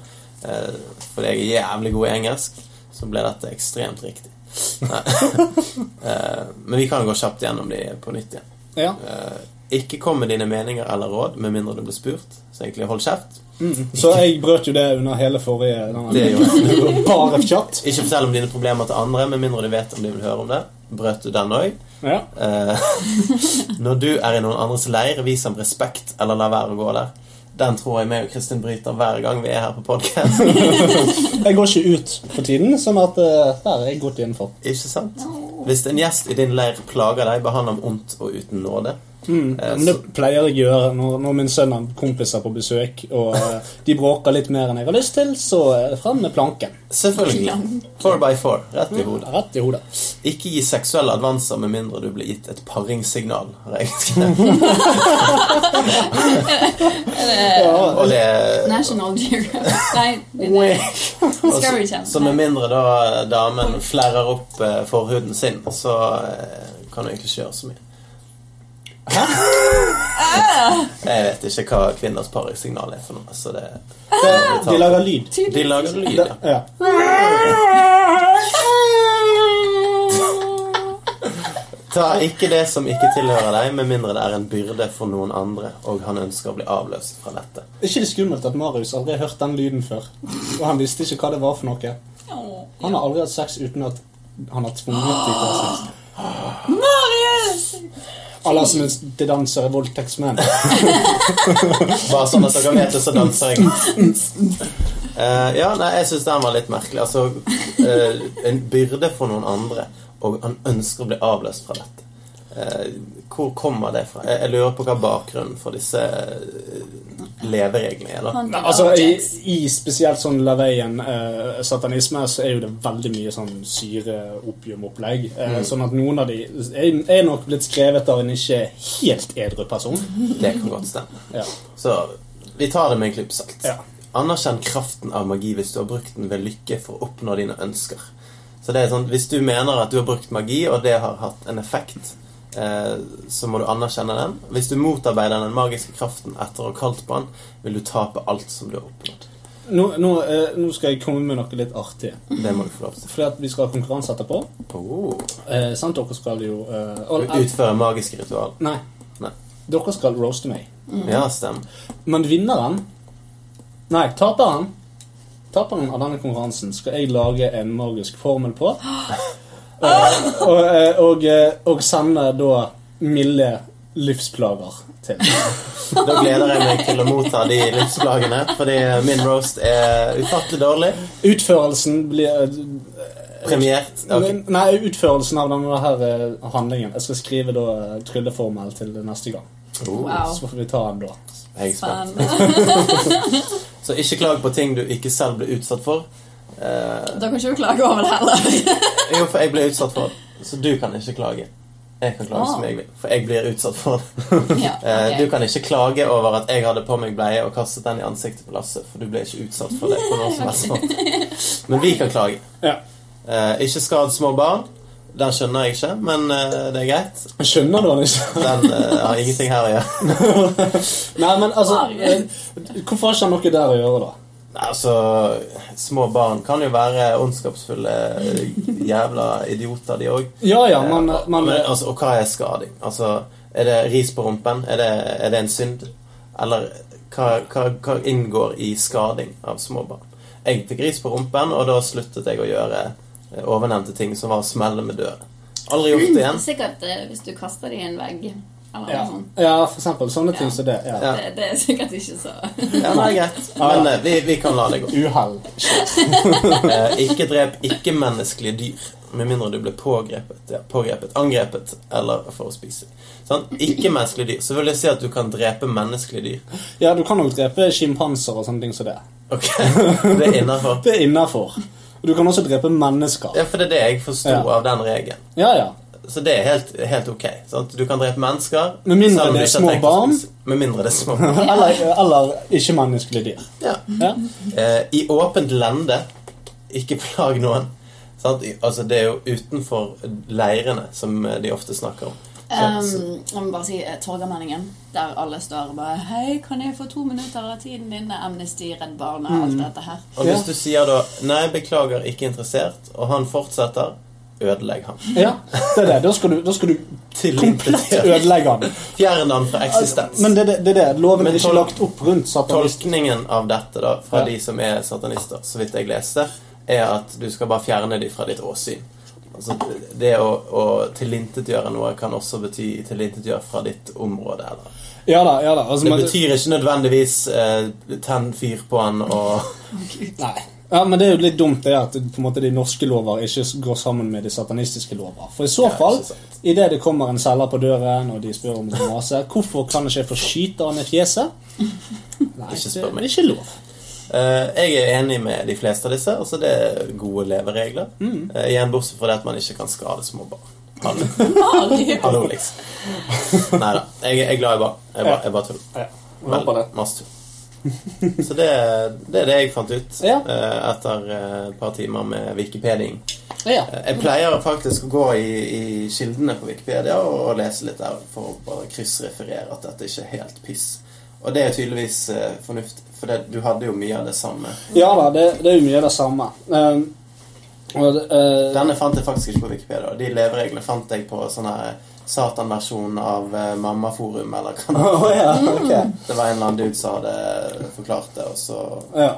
B: Eh, fordi jeg er jævlig god i engelsk, så ble dette ekstremt riktig. Nei. eh, men vi kan gå kjapt gjennom de på nytt igjen.
A: Ja.
B: Eh, ikke kom med dine meninger eller råd med mindre du blir spurt. Så egentlig hold kjeft.
A: Mm. Så jeg brøt jo det under hele forrige denne-
B: Det gjorde jeg.
A: Bare pjatt.
B: Ikke fortell om dine problemer til andre med mindre du vet om de vil høre om det. Brøt du den òg?
A: Ja.
B: Eh, når du er i noen andres leir, vis ham respekt, eller la være å gå der. Den tror jeg meg og Kristin bryter hver gang vi er her på podkast.
A: Jeg går ikke ut for tiden, sånn at eh, der er jeg godt innenfor.
B: Ikke sant? Hvis en gjest i din leir plager deg, behandle ham ondt og uten nåde. Eh,
A: Mm. Men det
B: så,
A: pleier jeg å gjøre når, når min sønn har kompiser på besøk, og eh, de bråker litt mer enn jeg har lyst til, så er det frem med planken.
B: selvfølgelig. Four by four. Rett i hodet.
A: Rett i hodet.
B: Ikke gi seksuelle advanser med mindre du blir gitt et paringssignal. har jeg skrevet.
A: Ja,
B: Og det,
D: National Geographic. Nei, det er Discovery Channel.
B: så med mindre da damen flerrer opp eh, forhuden sin, så eh, kan du egentlig ikke gjøre så mye. Hæ? Jeg vet ikke hva kvinners paringssignal er for noe. Så det,
A: det, de lager lyd.
B: de lager lyd, ja.
A: Ja.
B: Ta ikke det som ikke tilhører deg, med mindre det er en byrde for noen andre, og han ønsker å bli avløst fra dette.
A: Er ikke det skummelt at Marius aldri har hørt den lyden før? Og han visste ikke hva det var for noe.
D: Åh.
A: Han har aldri hatt sex uten at han har tvunget dem til sex.
D: Marius!
A: Alle som er til danser, er voldtektsmenn.
B: Bare sånn at dere vet det, så danser jeg. Eh, ja, nei, jeg syns den var litt merkelig. Altså, eh, en byrde for noen andre, og han ønsker å bli avløst fra dette. Eh, hvor kommer det fra? Jeg, jeg lurer på hva bakgrunnen for disse eh, levereglene er. da
D: Han
A: Nei, altså, i,
D: Jax.
A: I spesielt sånn Laveien-satanisme så er jo det veldig mye sånn syre-opium-opplegg. Eh, Sånn at noen av de er, er nok blitt skrevet av en ikke helt edru person.
B: Det kan godt stemme.
A: Ja.
B: Så vi tar det med en klype salt.
A: Ja.
B: Anerkjenn kraften av magi hvis du har brukt den ved lykke for å oppnå dine ønsker. Så det er sånn, Hvis du mener at du har brukt magi, og det har hatt en effekt, eh, så må du anerkjenne den. Hvis du motarbeider den magiske kraften etter å ha kalt på den, vil du tape alt som du har oppnådd.
A: Nå, nå, eh, nå skal jeg komme med noe litt artig.
B: Det må du få lov til.
A: Fordi at vi skal ha konkurranse etterpå.
B: Oh.
A: Eh, sant, dere skal jo eh,
B: Du
A: all,
B: utfører magiske ritual.
A: Nei.
B: Nei.
A: Dere skal roaste meg.
B: Ja, stemmer.
A: Men vinneren Nei, taperen Taperen av denne konkurransen skal jeg lage en magisk formel på. Eh, og, eh, og, eh, og sende da milde livsplager til.
B: Da gleder jeg meg til å motta de livsplagene, fordi min roast er ufattelig dårlig.
A: Utførelsen blir eh,
B: Premiert. Ok.
A: Nei, utførelsen av denne her eh, handlingen. Jeg skal skrive da eh, trylleformel til neste gang.
B: Oh,
D: Wow.
A: Så får vi ta den da.
B: jeg er spent.
D: Spennende.
B: Så ikke klag på ting du ikke selv ble utsatt for. Eh,
D: Da kan ikke du klage over det heller.
B: jo, for jeg ble utsatt for det, så du kan ikke klage. Jeg kan klage
D: Ah.
B: som jeg vil, for jeg blir utsatt for det.
D: Ja,
B: Eh,
D: ok.
B: Du kan ikke klage over at jeg hadde på meg bleie og kastet den i ansiktet på Lasse, for du ble ikke utsatt for det på noen som helst måte. Men vi kan klage.
A: Ja.
B: Eh, ikke skad små barn. Den skjønner jeg ikke, men eh, det er greit.
A: Skjønner liksom. du han ikke?
B: Den eh, har ingenting her å gjøre.
A: Nei, men altså
D: Marius.
A: eh, Hvorfor har ikke han noe der å gjøre, da?
B: Altså, små barn kan jo være ondskapsfulle eh, jævla idioter, de òg.
A: Ja ja, men,
B: Eh,
A: men
B: men, altså, og hva er skading? Altså, er det ris på rumpen? Er det, er det en synd? Eller hva, hva, hva inngår i skading av små barn? Jeg fikk ris på rumpen, og da sluttet jeg å gjøre eh, ovennevnte ting som var å smelle med døren. Aldri gjort det igjen.
D: Sikkert eh, hvis du kaster det i en vegg. Eller
A: Ja,
D: noe sånt.
A: ja for eksempel. Sånne ting
D: sånn. Ja.
A: som det. Ja.
B: Ja.
D: Det, det er sikkert ikke så
B: Ja, nei, greit. Men eh, vi, vi kan la det gå.
A: Uhell.
B: Eh, ikke drep ikke-menneskelige dyr. Med mindre du ble pågrepet, ja, pågrepet, angrepet eller for å spise. Sånn? Ikke-menneskelige dyr. Så vil jeg si at du kan drepe menneskelige dyr.
A: Ja, du kan nok drepe sjimpanser og sånne ting som det.
B: Ok, Det er innafor.
A: Det er innafor. Du kan også drepe mennesker.
B: Ja, for det er det jeg forsto
A: Ja.
B: av den regelen.
A: Ja, ja.
B: Så det er helt, helt ok. Sant? Du kan drepe mennesker
A: Med mindre
B: selv om du
A: det er
B: ikke har
A: små
B: tenkt å
A: barn.
B: spise- Med mindre det er små barn.
A: Eller, eller ikke-menneskelige dyr.
B: Ja.
A: Ja.
B: Eh, I åpent lende, ikke plag noen. Sant? I- Altså, det er jo utenfor leirene som eh, de ofte snakker om. Så-
D: um,
B: så-
D: Jeg må bare si eh, Torgallmenningen, der alle står og bare Hei, kan jeg få to minutter av tiden din? Det er Amnesty, Redd Barna og
B: Mm.
D: alt dette her.
B: Og hvis du sier da 'nei, beklager, ikke interessert', og han fortsetter, ødelegg ham.
A: Ja, det er det. Da skal du, da skal du komplett
B: Tilintetgjør.
A: ødelegge den.
B: Fjern ham fra eksistens.
A: Men det er det, det, er det. Loven
B: Men
A: er ikke
B: tol-
A: lagt opp rundt satanist.
B: Tolkningen av dette da, fra
A: Ja.
B: de som er satanister, så vidt jeg leste, er at du skal bare fjerne dem fra ditt åsyn. Altså, det å, å tilintetgjøre noe kan også bety tilintetgjøre fra ditt område. Eller.
A: Ja da, ja da. Altså,
B: Det
A: men,
B: betyr ikke nødvendigvis eh, tenn fyr på han og
A: nei. Ja, men det er jo litt dumt det at på en måte, de norske lover ikke går sammen med de satanistiske lover. For i så
B: Ja,
A: fall,
B: ikke sant.
A: idet det kommer en selger på døren og de spør om å mase, hvorfor kan ikke jeg få skyte han i fjeset? Nei,
B: Ikke
A: det,
B: spør meg.
A: det er ikke lov.
B: Eh, Jeg er enig med de fleste av disse. Altså Det er gode leveregler.
A: Mm.
B: Eh, igjen bortsett fra det at man ikke kan skade små barn. Hallo,
D: Mari!
B: hallo liksom. Nei da. Jeg, jeg er glad i barn. Jeg bare, jeg bare tuller.
A: Ja, jeg
B: Vel,
A: håper det.
B: masse tull. Så det, det er det jeg fant ut
A: Ja.
B: eh, etter eh, et par timer med Wikipeding.
A: Ja.
B: Eh, Jeg pleier faktisk å gå i, i kildene på Wikipedia og, og lese litt der for å bare kryssreferere at dette ikke er helt piss. Og det er tydeligvis eh, fornuftig, for det, du hadde jo mye av det samme.
A: ja da, det, det er jo mye av det samme. Ehm, og det, eh,
B: Denne fant jeg faktisk ikke på Wikipedia. De levereglene fant jeg på sånn her Satan-versjon av eh, Mammaforum, eller hva det
A: Å, ja, ok.
B: Det var en eller annen dude som hadde eh, forklart det, og så
A: ja.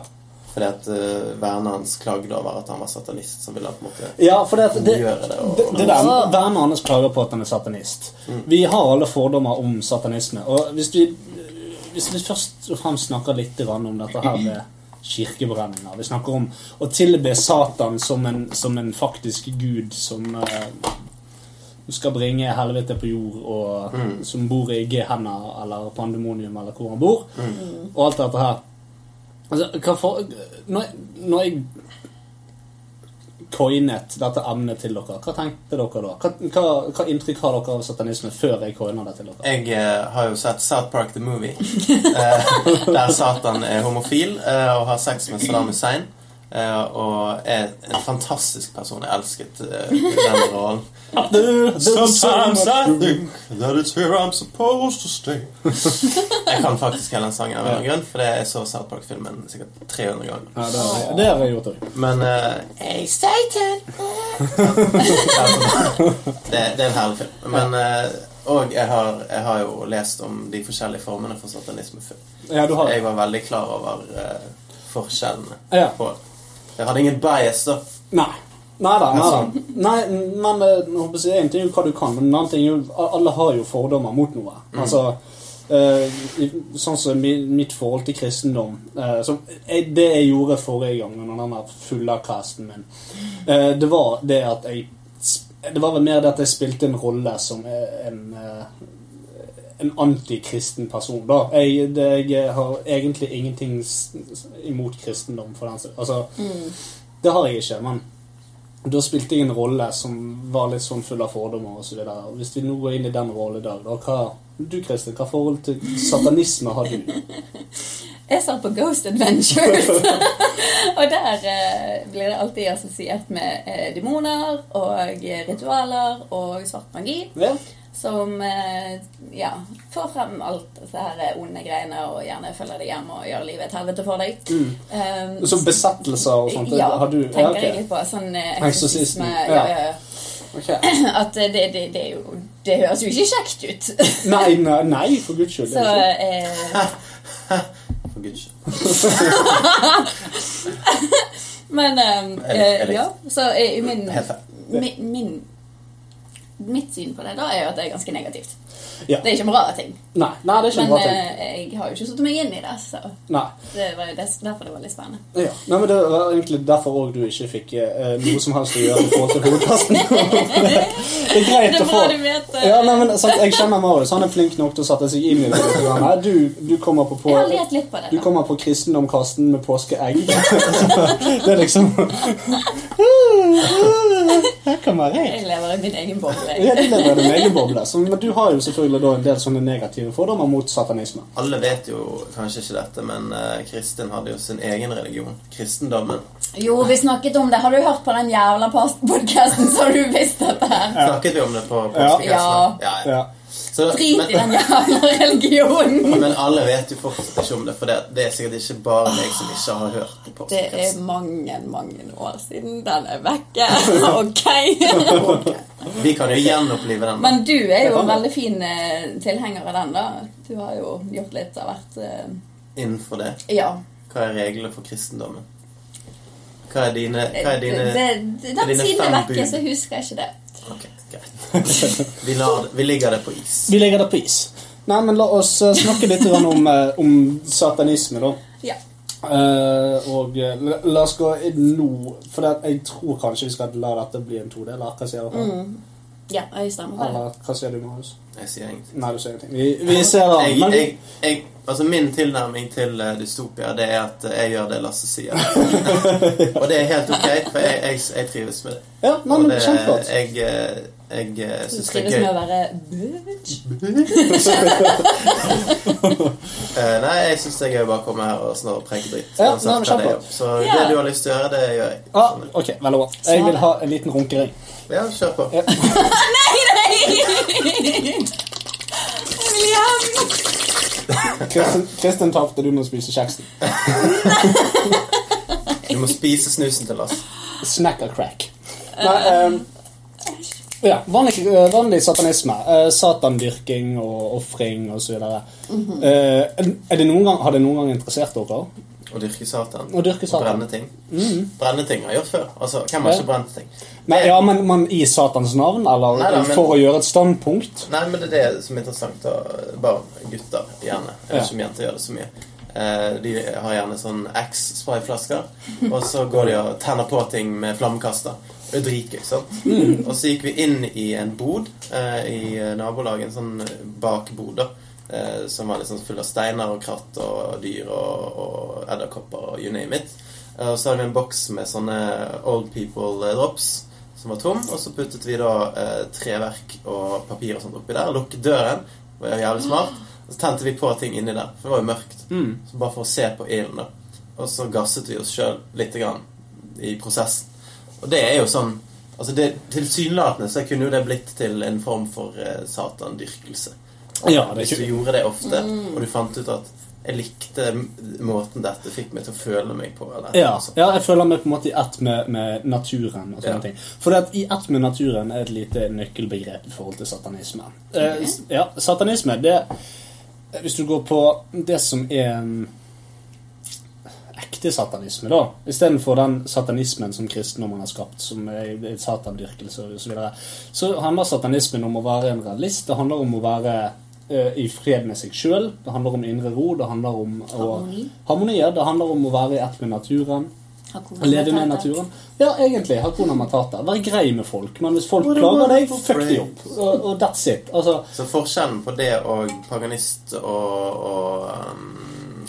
B: Fordi at uh, vennene hans klagde over at han var satanist, så ville han på en måte
A: ja, for det, at det,
B: gjøre det. Og,
A: det, det der Vennene hans klager på at han er satanist. Vi har alle fordommer om satanisme. Og hvis vi, hvis vi først og fremst snakker litt grann om dette her med kirkebrenninger Vi snakker om å tilbe Satan som en, som en faktisk gud som eh, skal bringe helvete på jord, og som bor i Gehenna eller Pandemonium eller hvor han bor, og alt dette her. Altså, hva for, når, jeg- når jeg coinet dette emnet til dere, hva tenkte dere da? Hva, hva, hva inntrykk har dere av satanisme før jeg coina det til dere?
B: Jeg eh, har jo sett South Park The Movie, eh, der Satan er homofil eh, og har sex med Saddam Hussein. eh, og er en fantastisk person. Jeg elsket eh, denne rollen. Sometimes I think that it's here I'm supposed to stay. Jeg kan faktisk hele den sangen av en eller annen grunn, for det er så South Park-filmen sikkert 300 ganger.
A: Ja, det, har jeg- det har jeg gjort òg.
B: Men eh, Hey, Satan! det, det er en herlig film. Men, eh, og jeg har, jeg har jo lest om de forskjellige formene for satanisme før.
A: Ja, du har
B: Jeg var veldig klar over eh, forskjellene.
A: Ja.
B: På, jeg hadde ingen bias, da.
A: Nei. Nei da. Nei, da. nei men eh, jeg håper å si, en ting er jo hva du kan, men en annen ting er jo Alle har jo fordommer mot noe. Altså, eh, i- sånn som mi- mitt forhold til kristendom eh, som, jeg, Det jeg gjorde forrige gang under den der fullakasten min, eh, det var det at jeg sp- Det var vel mer det at jeg spilte en rolle som eh, en eh, en antikristen person, da. Jeg, det, jeg har egentlig ingenting s- s- imot kristendom, for den saks altså, det har jeg ikke, men da spilte jeg en rolle som var litt sånn full av fordommer og så videre. Hvis vi nå går inn i den rollen i dag, da hva Du, Kristin, hva forhold til satanisme har du?
D: Jeg satt på Ghost Adventures, og der eh, blir det alltid assosiert med eh, demoner og ritualer og svart magi.
A: Ja.
D: Som eh, ja, får frem alt disse her onde greiene og gjerne følger deg hjem og gjør livet et helvete for deg.
A: Mm.
D: Um,
A: Så besettelser og sånt, det
D: ja,
A: har du
D: tenker
A: ja, ok.
D: jeg litt på. Sånn eh,
A: Eksorsisme,
D: eksorsisme.
A: ja.
D: Ja, ja, ja.
A: Ok.
D: At eh, det, det, det, er jo, det høres jo ikke kjekt ut.
A: Nei, nei, nei, for guds skyld.
D: Så
A: det er
D: eh,
B: For guds skyld.
A: ikke-
D: Men ehm,
B: Jeg lik- jeg
D: eh, ja, så eh, min,
B: Helt feil.
D: mi- min Mitt syn på det da er jo at det er ganske negativt.
A: Ja.
D: Det er ikke en bra ting.
A: nei, nei, det er ikke
D: Men
A: en bra ting.
D: eh, jeg har jo ikke satt meg inn i det, så
A: Nei.
D: det var jo des- derfor det var litt spennende.
A: Ja. Nei, men Det var egentlig derfor òg du ikke fikk eh, noe som helst å gjøre i forhold til hovedkasten. det er greit
D: Det er
A: å
D: bra
A: få.
D: du vet eh,
A: Ja, nei, men sant, Jeg kjenner Marius. Han er flink nok til å sette seg inn i det. litt grann her. Du, du kommer på, på
D: Jeg har lett litt på det.
A: Du
D: da.
A: kommer på kristendomkasten med påskeegg. det er liksom Her kommer jeg.
D: Jeg lever i min egen boble.
A: Ja, det lever i din egen boble. Så, men du har jo selvfølgelig da en del sånne negative fordommer mot satanisme.
B: Alle vet jo kanskje ikke dette, men eh, Kristin hadde jo sin egen religion. Kristendommen.
D: Jo, vi snakket om det. Har du hørt på den jævla podkasten, så har du visst dette her.
B: Snakket vi om det på
A: Ja.
B: påskefesten?
D: Ja.
B: Ja, ja.
A: Ja.
B: Så-
D: Drit i
B: men-
D: den jævla religionen.
B: Men alle vet jo fortsatt ikke om det, for det, det er sikkert ikke bare meg som ikke har hørt på
D: Det er
B: postkassen.
D: mange, mange år siden den er vekke. Ok.
B: Vi kan jo gjenopplive den.
D: Men du er jo
A: kan
D: en
A: det.
D: veldig fin eh, tilhenger av den, da. Du har jo gjort litt av hvert. eh,
B: Innenfor det,
D: Ja.
B: hva er reglene for kristendommen? Hva er dine, hva er
D: Det-
B: dine
D: det- det-
B: hva er
D: Den
B: dine
D: siden er
B: fem
D: vekke,
B: bud?
D: så husker jeg ikke det.
B: Ok, greit. Vi, lar, det- vi ligger det på is.
A: Vi legger det på is. Nei, men la oss eh, snakke litt grann om, eh, om satanisme, da.
D: Ja.
A: Eh, og eh, la, la oss gå inn nå, for det, jeg tror kanskje vi skal la dette bli en todeler. Hva sier dere?
D: Mm. Ja, jeg
B: Ah,
D: stemmer på det.
A: Eller hva sier du, Marius?
B: Jeg sier ingenting.
A: Nei, du sier ingenting. Vi, vi ser
B: Jeg,
A: an. Men
B: jeg, jeg, altså min tilnærming til eh, dystopia Det er at eh, jeg gjør det Lasse sier. Og det er helt ok, for jeg, jeg, jeg trives med det.
A: ja, nei,
B: Og
A: men
B: det,
A: kjempeflott.
B: jeg eh, jeg eh,
D: Du
B: synes det
D: trives
B: er gøy.
D: med å være bitch?
B: Eh, nei, jeg syns det er gøy å bare komme her og snarere preke dritt.
A: Ja,
B: Uansett
A: nei, men
B: hva det er.
A: kjempebra.
B: Så
D: Ja.
B: det du har lyst til å gjøre, det gjør jeg.
A: Ah, ok, veldig bra. Jeg vil ha en liten runkering.
B: Ja, kjør på.
A: Ja.
D: Jeg vil hjem!
A: Kristin, Kristin tapte, du må spise kjeksen.
B: Du må spise snusen til oss.
A: Snacker crack. Nei, ehm, ja, vanlig, eh, vanlig satanisme. eh, satandyrking og ofring og så videre. Eh, er det noen gang, har det noen gang interessert dere?
B: Å dyrke Satan.
A: Å dyrke Satan. Mm.
B: brenne ting. Brenne ting har jeg gjort før. Altså, Hvem har
A: Ja.
B: ikke brent ting?
A: Nei, ja, men, men i Satans navn, eller
B: Nei da, men-
A: for å gjøre et standpunkt?
B: Nei, men det er det som er interessant. Da. Barn, gutter, gjerne. Jeg
A: Ja.
B: vet ikke om jenter gjør det så mye. Eh, De har gjerne sånn X-sprayflasker, og så går de og tenner på ting med flammekaster. Det er dritgøy, sant? Og så gikk vi inn i en bod eh, i nabolaget, en sånn bakbod, da. eh, Som var liksom full av steiner og kratt og dyr og, og edderkopper og you name it. Eh, Og så har vi en boks med sånne Old People eh, Drops som var tom. Og så puttet vi da eh, treverk og papir og sånt oppi der. Lukket døren. Det var jævlig smart. Og så tente vi på ting inni der, for det var jo mørkt.
A: Mm.
B: Så bare for å se på ilden, da. Og så gasset vi oss sjøl lite grann i prosessen. Og det er jo sånn Altså det, Tilsynelatende så kunne jo det blitt til en form for eh, satandyrkelse.
A: Ja, det er
B: Hvis du
A: ikke
B: gjorde det ofte, og du fant ut at jeg likte m- måten dette fikk meg til å føle meg på. Eller,
A: ja,
B: altså.
A: ja, jeg føler meg på en måte i ett med, med naturen. og sånne
B: Ja.
A: ting. For det at i ett med naturen er et lite nøkkelbegrep i forhold til satanisme. Eh, s- ja, Satanisme, det Hvis du går på det som er mm, ekte satanisme, da, istedenfor den satanismen som kristendommen har skapt, som er er satandyrkelse og så videre, så handler satanismen om å være en realist. Det handler om å være eh, i fred med seg sjøl. Det handler om indre ro. Det handler om å,
D: Harmoni.
A: harmonier. Det handler om å være i ett med naturen. Leve med naturen. Ja, egentlig. Hakuna Matata. Vær grei med folk. Men hvis folk
B: What a
A: klager deg,
B: wonderful
A: fuck de
B: phrase.
A: opp. Og, og that's it. Altså,
B: Så forskjellen på det og paganist og, og um,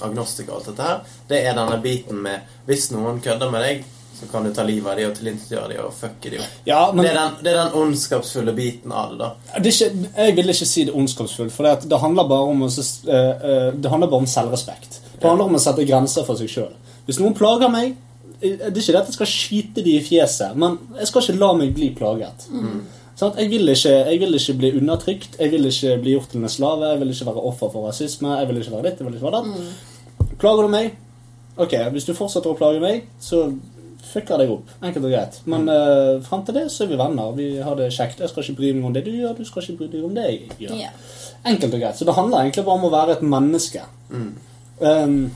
B: agnostikk og alt dette her, det er denne biten med Hvis noen kødder med deg, så kan du ta livet av dem og tilintetgjøre dem og fucke dem opp.
A: ja, men
B: Det er, den, det er den ondskapsfulle biten av det, da.
A: det er ikke, jeg vil ikke si det ondskapsfullt, for det, at det handler bare om, å, s- eh, eh, det handler bare om selvrespekt. Det handler om å sette grenser for seg sjøl. Hvis noen plager meg eh, Det er ikke det at jeg skal skyte de i fjeset, men jeg skal ikke la meg bli plaget. Sant? jeg, vil ikke, jeg vil ikke bli undertrykt, jeg vil ikke bli gjort til en slave, jeg vil ikke være offer for rasisme, jeg vil ikke være ditt, jeg vil ikke være datt. Plager du meg? Ok, hvis du fortsetter å plage meg, så fucker jeg deg opp. Enkelt og greit. Men uh, fram til det så er vi venner. Vi har det kjekt. Jeg skal ikke bry meg om det du gjør, du skal ikke bry deg om det jeg gjør.
D: Ja.
A: Enkelt og greit. Så det handler egentlig bare om å være et menneske.
B: Mm.
A: Ehm,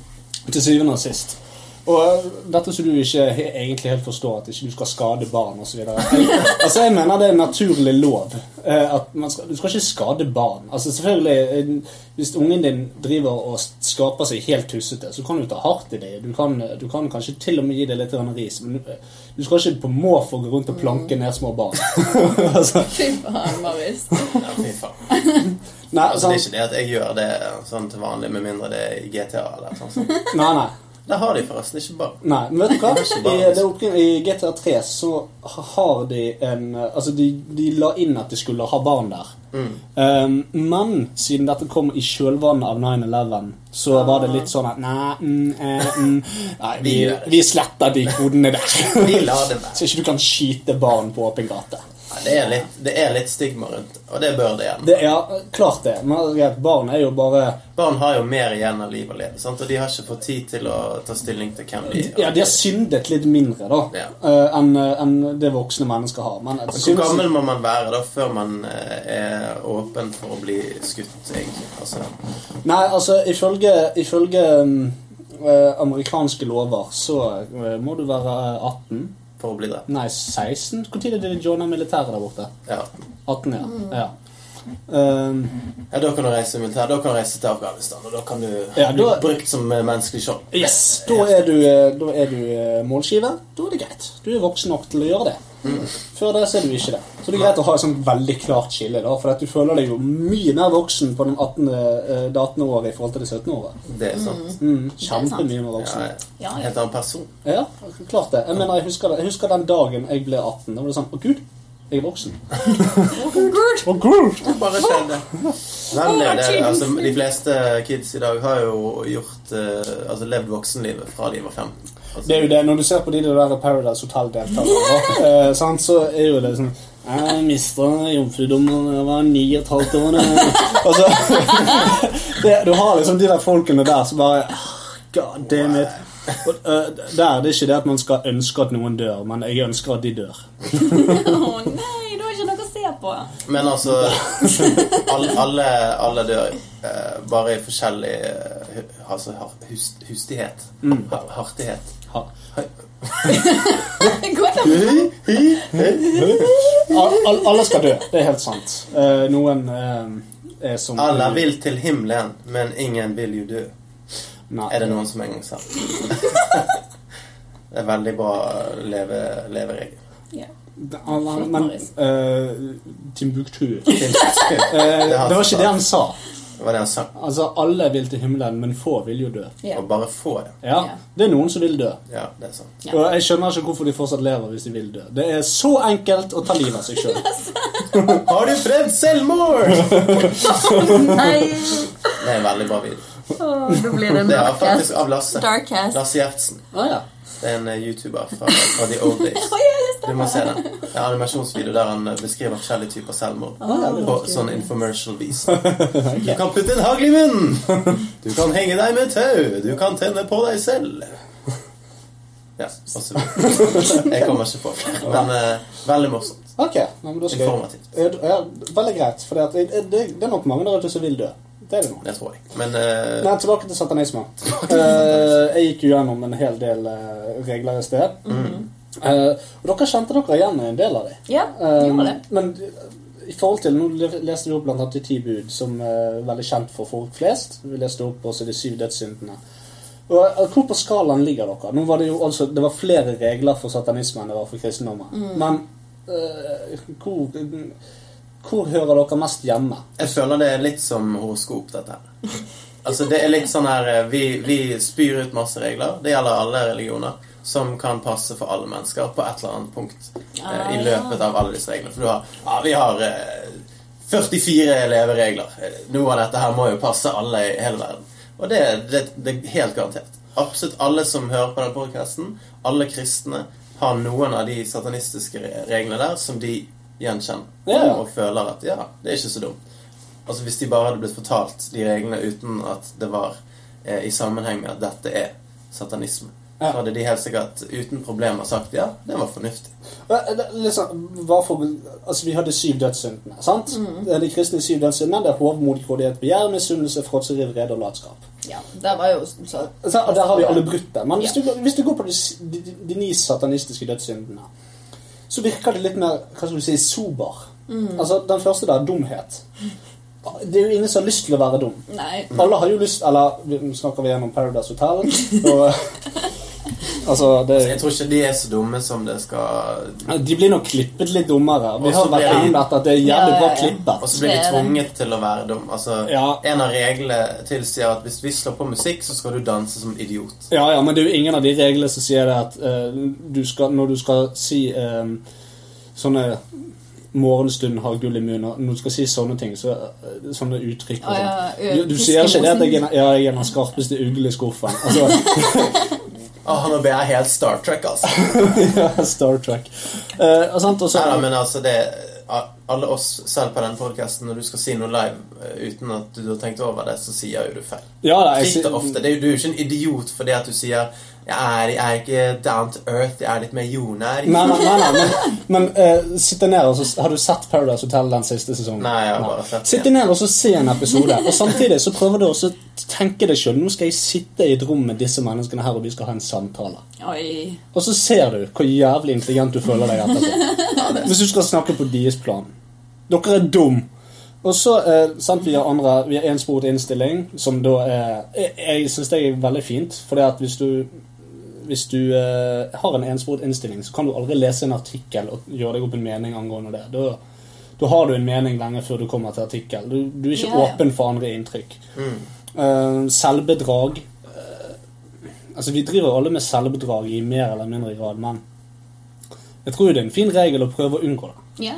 A: til syvende og sist. Og eh, dette som du ikke he egentlig helt forstår, at ikke du skal skade barn osv. altså, jeg mener det er en naturlig lov. eh, at man skal, Du skal ikke skade barn. Altså selvfølgelig, eh, Hvis ungen din driver og s- skaper seg helt tussete, så kan du ta hardt i det. Du kan, uh, du kan kanskje til og med gi det litt grann ris, men du, du skal ikke på måfå gå rundt og planke
B: Mm.
A: ned små barn. altså,
D: Fy faen, Marius.
B: Ja, fy faen.
A: nei, sånn,
B: Altså, det er
A: sant?
B: ikke det at jeg gjør det sånn til vanlig, med mindre det er i GTA eller sånn. sånn.
A: nei, nei.
B: Der har de forresten ikke barn.
A: Nei, men vet du hva?
B: Det er
A: I,
B: ikke
A: det oppgave, I GTA 3 så har de en Altså, de, de la inn at de skulle ha barn der.
B: Mm.
A: Um, men siden dette kom i kjølvannet av 9-11, så
B: Ah.
A: var det litt sånn at Nei, mm, eh, mm, nei vi, vi sletter de kodene der.
B: Vi lar det være.
A: Så ikke du kan skyte barn på åpen gate.
B: Ja, det, er litt, det er litt stigma rundt, og det bør det igjen.
A: Det, ja, klart det. Men greit, barn er jo bare
B: Barn har jo mer igjen av livet å leve, sant? og de har ikke fått tid til å ta stilling til hvem de
A: Ja, de har syndet litt mindre, da,
B: Ja. Altså,
A: eh, enn enn det voksne mennesker har. Men
B: Hvor
A: synd-
B: gammel må man være da før man eh, er åpen for å bli skutt, egentlig? Altså,
A: Nei, altså, ifølge, ifølge um, eh, amerikanske lover så eh, må du være eh, 18.
B: for å bli drept.
A: Nei, 16? Når de joina militæret der borte?
B: Ja.
A: 18, ja.
B: Mm.
A: ja. Um,
B: ja, da kan du reise militær, da kan du reise til Afghanistan, og da kan du
A: Ja,
B: bli
A: da-
B: brukt som eh, menneskelig skjold.
A: yes! Da er du, eh, da er du eh, målskive. Da er det greit. Du er voksen nok til å gjøre det. Før det så er du ikke det. Så det er greit å ha et sånt veldig klart skille, da, for at du føler deg jo mye mer voksen på den 18, eh, det 18. året i forhold til det 17. året.
B: Det er sant.
A: Mm,
D: sant.
A: Kjempemye mer voksen.
B: Ja,
D: Ja,
B: ja.
D: ja.
B: Helt annen person.
A: Ja, klart det. Jeg mener, jeg husker, det. jeg husker den dagen jeg ble 18. Da var det sånn Å, gud, jeg er voksen.
D: Good.
A: Å, gud!
B: Bare skjønn det. Men det, er det, altså, de fleste kids i dag har jo gjort eh, Altså levd voksenlivet fra de var 15. Altså,
A: Det er jo det, Når du ser på de der Paradise Hotel-deltakerne, eh, sant, så er jo det sånn jeg mista jomfrudommen da jeg var ni og et halvt år. eh.» Altså, det, du har liksom de der folkene der som bare «Ah, God damn it. Og, eh, der, det er ikke det at man skal ønske at noen dør, men jeg ønsker at de dør.
D: Å nei, du har ikke noe å se på.
B: Men altså alle, alle, alle dør eh, bare i forskjellig eh, hu- altså, har- hus, hustighet. Har- Hartighet.
A: Ha.
D: Går det?
A: Al- al- alle skal dø, det er helt sant. Eh, noen eh, er som
B: Alle vil til himmelen, men ingen vil jo dø.
A: Nei.
B: Er det noen som en gang sa. Det er veldig bra eh, leve, leveregel.
D: Ja.
A: Det- alle- Men
D: Marius.
A: eh, Timbuktu eh,
B: Det
A: Det var ikke det han sa.
B: Det var det han sa.
A: Altså, alle vil til himmelen, men få vil jo dø.
D: Ja.
B: Og bare få det.
A: Ja,
D: Ja.
A: Det er noen som vil dø.
B: Ja, det er sant.
D: Ja.
A: Og jeg skjønner ikke hvorfor de fortsatt lever hvis de vil dø. Det er så enkelt å ta livet av seg sjøl.
B: Har du prøvd selvmord?
D: Nei!
B: Det er en veldig bra video.
D: Åh, da blir det en
B: Det er
D: darkcast.
B: faktisk av Lasse.
D: Darkcast.
B: Lasse Gjertsen.
A: Ah, ja.
B: Det er en eh, YouTuber fra, fra The Old Days.
D: Å, ja, det
B: Du
D: stemmer.
B: må se den. Det er en animasjonsvideo der han eh, beskriver forskjellige typer selvmord. På sånn infomercial-vis. Du kan putte en hagl i munnen! Du kan henge deg med tau! Du kan tenne på deg selv! Ja, og så videre. Jeg kommer ikke på flere, men eh, veldig morsomt.
A: Ok, nei, men da skal jeg...
B: Informativt.
A: Ja, ja, Veldig greit, for det, det, det er nok mange der ute som vil dø. Det er det nå.
B: Det tror jeg. Men eh,
A: Nei, tilbake til satanisme. Eh, jeg gikk jo gjennom en hel del eh, regler i sted.
D: Mm-hmm.
A: Eh, og dere kjente dere igjen i en del av dem.
D: Ja,
B: Um,
D: det gjorde det.
A: Ehm, men i forhold til, nå le- leste vi opp blant annet de ti bud, som eh, er veldig kjent for folk flest. Vi leste opp også de syv dødssyndene. Og eh, Hvor på skalaen ligger dere? Nå var Det jo altså, det var flere regler for satanisme enn det var for kristendommen.
D: Mm.
A: Men eh, hvor, hvor hører dere mest hjemme?
B: Jeg føler det er litt som horoskop, dette her. Altså, det er litt sånn her eh, Vi, vi spyr ut masse regler. Det gjelder alle religioner. Som kan passe for alle mennesker på et eller annet punkt eh, i løpet av alle disse reglene. For du har Ja, vi har eh, 44 leveregler. Eh, Noe av dette her må jo passe alle i hele verden. Og det, det, det er helt garantert. Absolutt alle som hører på den podcasten alle kristne, har noen av de satanistiske re- reglene der som de gjenkjenner.
A: Ja, ja.
B: Og føler at ja, det er ikke så dumt. Altså Hvis de bare hadde blitt fortalt de reglene uten at det var eh, i sammenheng med at dette er satanisme,
A: Ja.
B: så hadde de helt sikkert uten problemer sagt ja, det var fornuftig.
A: Ja, det- Liksom, hva for, altså, vi hadde syv dødssyndene. sant?
D: Mm.
A: Det er De kristne syv dødssyndene det er hovmod, grådighet, begjær, misunnelse, fråtseri, vrede og latskap.
D: Ja, der var jo så
A: Så, og der har vi alle brutt det. Men hvis,
D: Ja.
A: du, går- hvis du går på de, s- de, de, de ni satanistiske dødssyndene, så virker det litt mer hva skal du si, sober. Altså, Den første der dumhet. Det er jo ingen som har lyst til å være dum.
D: Nei.
A: Alle har jo lyst Eller nå snakker vi gjennom Paradise Hotel. Og, altså, det,
B: Jeg tror ikke de er så dumme som det skal
A: de blir nok klippet litt dummere. Vi
B: Og så
A: har vært
B: blir de-
A: innom dette at det er jævlig
D: Ja,
A: bra
D: ja, ja.
B: Og
A: klippet.
B: så blir
D: Det
B: de
D: er det.
B: tvunget til å være dum. Altså,
A: Ja.
B: En av reglene tilsier at hvis vi slår på musikk, så skal du danse som idiot.
A: Ja, ja, men det er jo ingen av de reglene som sier det at eh, du skal, når du skal si eh, sånne Morgenstund har gull i munnen og Når du skal si sånne ting, så, eh, sånne uttrykk og
D: Å, ja,
A: sånt
D: ø-
A: Du, du sier ikke det at jeg er,
D: fiskemosen.
A: ja, jeg er den skarpeste ugle i skuffen. Altså,
B: Ah, nå ble jeg helt Star Trek, altså.
A: Star Trek. Eh, og sant, og så,
B: Nei, da, men altså det Alle oss selv på den podcasten når du skal si noe live eh, uten at du har tenkt over det, så sier jo du feil.
A: ja, da, jeg,
B: Fritt og
A: sier-
B: ofte. Det er jo, du er jo ikke en idiot fordi at du sier jeg er, jeg er ikke down to earth, jeg er litt mer jordnær.
A: Nei, nei, nei, nei, men, men eh, sitte ned og så Har du sett Paradise Hotel den siste sesongen?
B: Nei, jeg har bare sett
A: Sitte ned og så se en episode, og samtidig så prøver du også å tenke deg sjøl. Nå skal jeg sitte i et rom med disse menneskene her, og vi skal ha en samtale.
D: Oi.
A: Og så ser du hvor jævlig intelligent du føler deg etterpå. Hvis du skal snakke på deres plan. Dere er dum. Og så eh, sant, vi har andre, vi har ensporet innstilling, som da er Jeg, jeg syns det er veldig fint, for det at hvis du hvis du eh, har en ensporet innstilling, så kan du aldri lese en artikkel og gjøre deg opp en mening angående det. Da, da har du en mening lenge før du kommer til artikkel. Du, du er ikke
D: Ja, ja.
A: åpen for andre inntrykk. Eh, selvbedrag eh, Altså, vi driver jo alle med selvbedrag i mer eller mindre grad, men jeg tror jo det er en fin regel å prøve å unngå det.
D: Ja,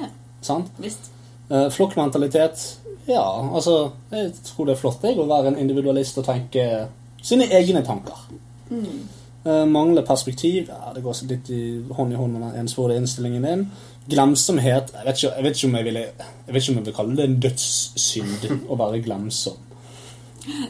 A: Sant?
D: visst.
A: Eh, flokkmentalitet Ja, altså Jeg tror det er flott jeg, å være en individualist og tenke sine egne tanker.
B: Mm.
A: Eh, mangle perspektiv ja, Det går så litt i hånd i hånd med den ensporede innstillingen din. Glemsomhet jeg vet, ikke, jeg, vet ikke om jeg, ville, jeg vet ikke om jeg vil kalle det en dødssynd å være glemsom.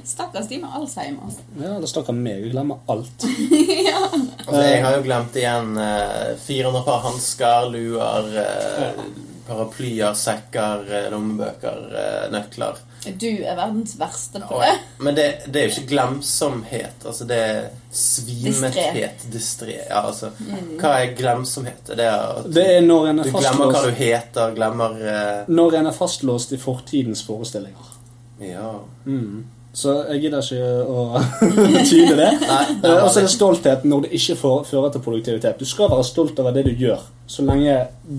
D: Stakkars de med alzheimer.
A: Ja, det stakkar meg. Jeg glemmer alt.
B: Altså, jeg har jo glemt igjen eh, 400 par hansker, luer, eh, paraplyer, sekker, eh, lommebøker, eh, nøkler.
D: Du er verdens verste på
B: Og
D: det.
B: jeg- Men det, det er jo ikke glemsomhet. Altså, det er svimethet. Distré. Ja, altså, hva er glemsomhet? Er Det er at
A: Det er når en
B: du
A: er
B: glemmer hva du
A: fastlåst,
B: heter, glemmer eh,
A: når en er fastlåst i fortidens forestillinger.
B: Ja.
A: Så jeg gidder ikke å tyde det. Eh, Og så er det stolthet når det ikke får, fører til produktivitet. Du skal være stolt over det du gjør, så lenge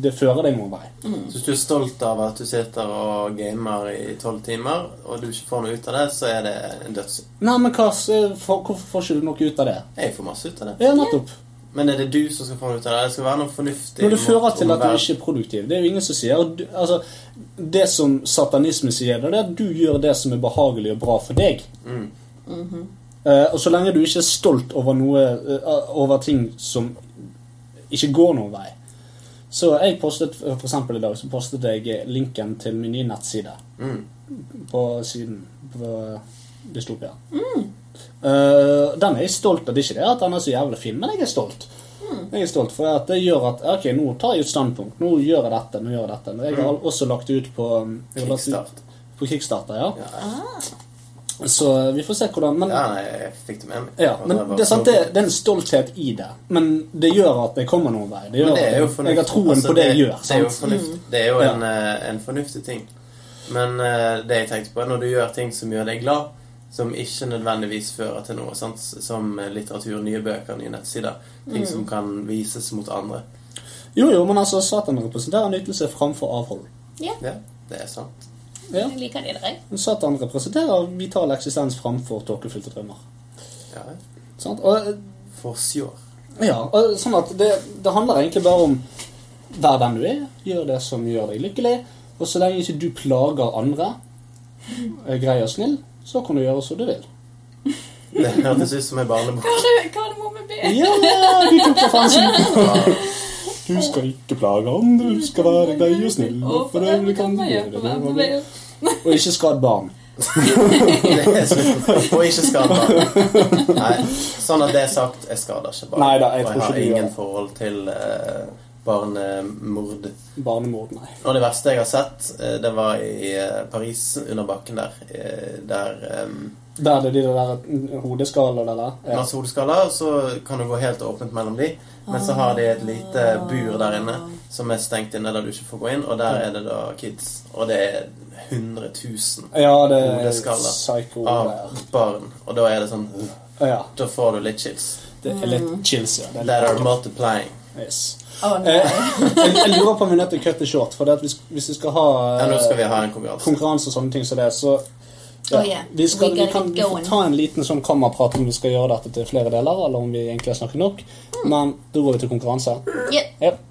A: det fører deg noen vei.
B: Hvis du er stolt av at du sitter og gamer i tolv timer, og du ikke får noe ut av det, så er det en dødssynd.
A: Nei, men hva, så for, hvorfor får ikke du noe ut av det?
B: Jeg får masse ut av det.
A: Ja, nettopp.
B: Men er det du som skal få noe ut av det? Det skal være noe fornuftig.
A: Når det
B: mot
A: fører til at du
B: omverdenen.
A: ikke er produktiv. Det er jo ingen som sier og du, altså, Det som satanisme sier, det er at du gjør det som er behagelig og bra for deg. Eh, og så lenge du ikke er stolt over noe eh, over ting som ikke går noen vei Så jeg postet for eksempel i dag så postet jeg linken til min nye nettside
B: Mm.
A: på siden på Dystopia. Eh, den er jeg stolt av. Det er ikke det at den er så jævlig fin, men jeg er stolt. Jeg er stolt for at det gjør at Ok, nå tar jeg et standpunkt. Nå gjør jeg dette. nå gjør Jeg dette. Jeg
B: Mm.
A: har også lagt det ut på um, jeg har lagt det ut
B: Kickstart.
A: På Kickstarter, ja.
B: Ja,
A: Så eh, vi får se hvordan Men,
B: ja,
A: ja,
B: nei, jeg fikk det med meg. Og
A: men
B: var
A: det, er sant, det, det er en stolthet i det. Men det gjør at jeg kommer noen vei. Det gjør
B: Men det er jo
A: at jeg,
B: fornuftig.
A: jeg har troen
B: Altså,
A: på det jeg gjør.
B: Det er jo,
A: Sant?
B: fornuftig. Det er jo
A: Ja.
B: en, eh, en fornuftig ting. Men eh, det jeg tenkte på er når du gjør ting som gjør deg glad, som ikke nødvendigvis fører til noe, sant? som eh, litteratur, nye bøker, nye nettsider. Ting som kan vises mot andre.
A: Jo, jo, men altså, Satan representerer nytelse framfor avhold.
D: Ja,
B: Ja, det er sant.
A: Ja.
D: jeg liker det der.
A: Satan representerer vital eksistens framfor tåkefylte drømmer.
B: Ja,
A: Sant? Og, eh,
B: for sure.
A: ja, og, sånn at det, det handler egentlig bare om vær den du er, gjør det som gjør deg lykkelig, og så lenge ikke du plager andre, er grei og snill, så kan du gjøre som du vil.
B: Det hørtes ut som en barnebok.
D: Hva er det- hva er det må vi be?
A: Ja, du tok referansen! Du skal ikke plage andre, du skal være grei og snill.
D: Å, for øvrig kan man gjøre det man vil.
A: Og ikke skad barn.
B: Det er slutt. Og ikke skader. Nei, sånn at det er sagt, jeg skader ikke barn.
A: Nei da, jeg
B: og
A: tror
B: jeg
A: ikke
B: har
A: du gjør
B: ingen
A: det.
B: forhold til eh, barnemord.
A: Barnemord, nei.
B: Og det verste jeg har sett, eh, det var i eh, Paris, under bakken der. eh, Der em,
A: Der er det de der hodeskaller der. da. Ja.
B: masse hodeskaller, og så kan det gå helt åpent mellom de. Men så har de et lite
A: Ah.
B: bur der inne som er stengt inne, der du ikke får gå inn. Og der er det da kids. Og det er 100 000
A: Ja, det er
B: Hodeskaller.
A: psycho.
B: av
A: der.
B: barn. Og da er det sånn
A: Ja,
B: Da får du litt chills.
A: det er litt
D: Mm.
A: chills, ja. Det er
B: That
A: litt
B: are multiplying.
A: Yes.
D: Å,
A: Eh,
D: nei.
A: jeg, jeg lurer på om vi er nødt til å cutte short, for det at hvis, hvis vi skal ha eh,
B: Ja, nå skal vi ha en konkurranse.
A: konkurranse og sånne ting som det, så
D: Oh, yeah.
A: vi, skal,
D: We
A: vi
D: gotta
A: kan
D: get
A: vi får
D: going.
A: ta en liten sånn kammerprat om vi
D: Mm.
A: skal gjøre dette til flere deler, eller om vi egentlig har snakket nok. Men da går vi til konkurranse.
D: Ja.
A: Yep.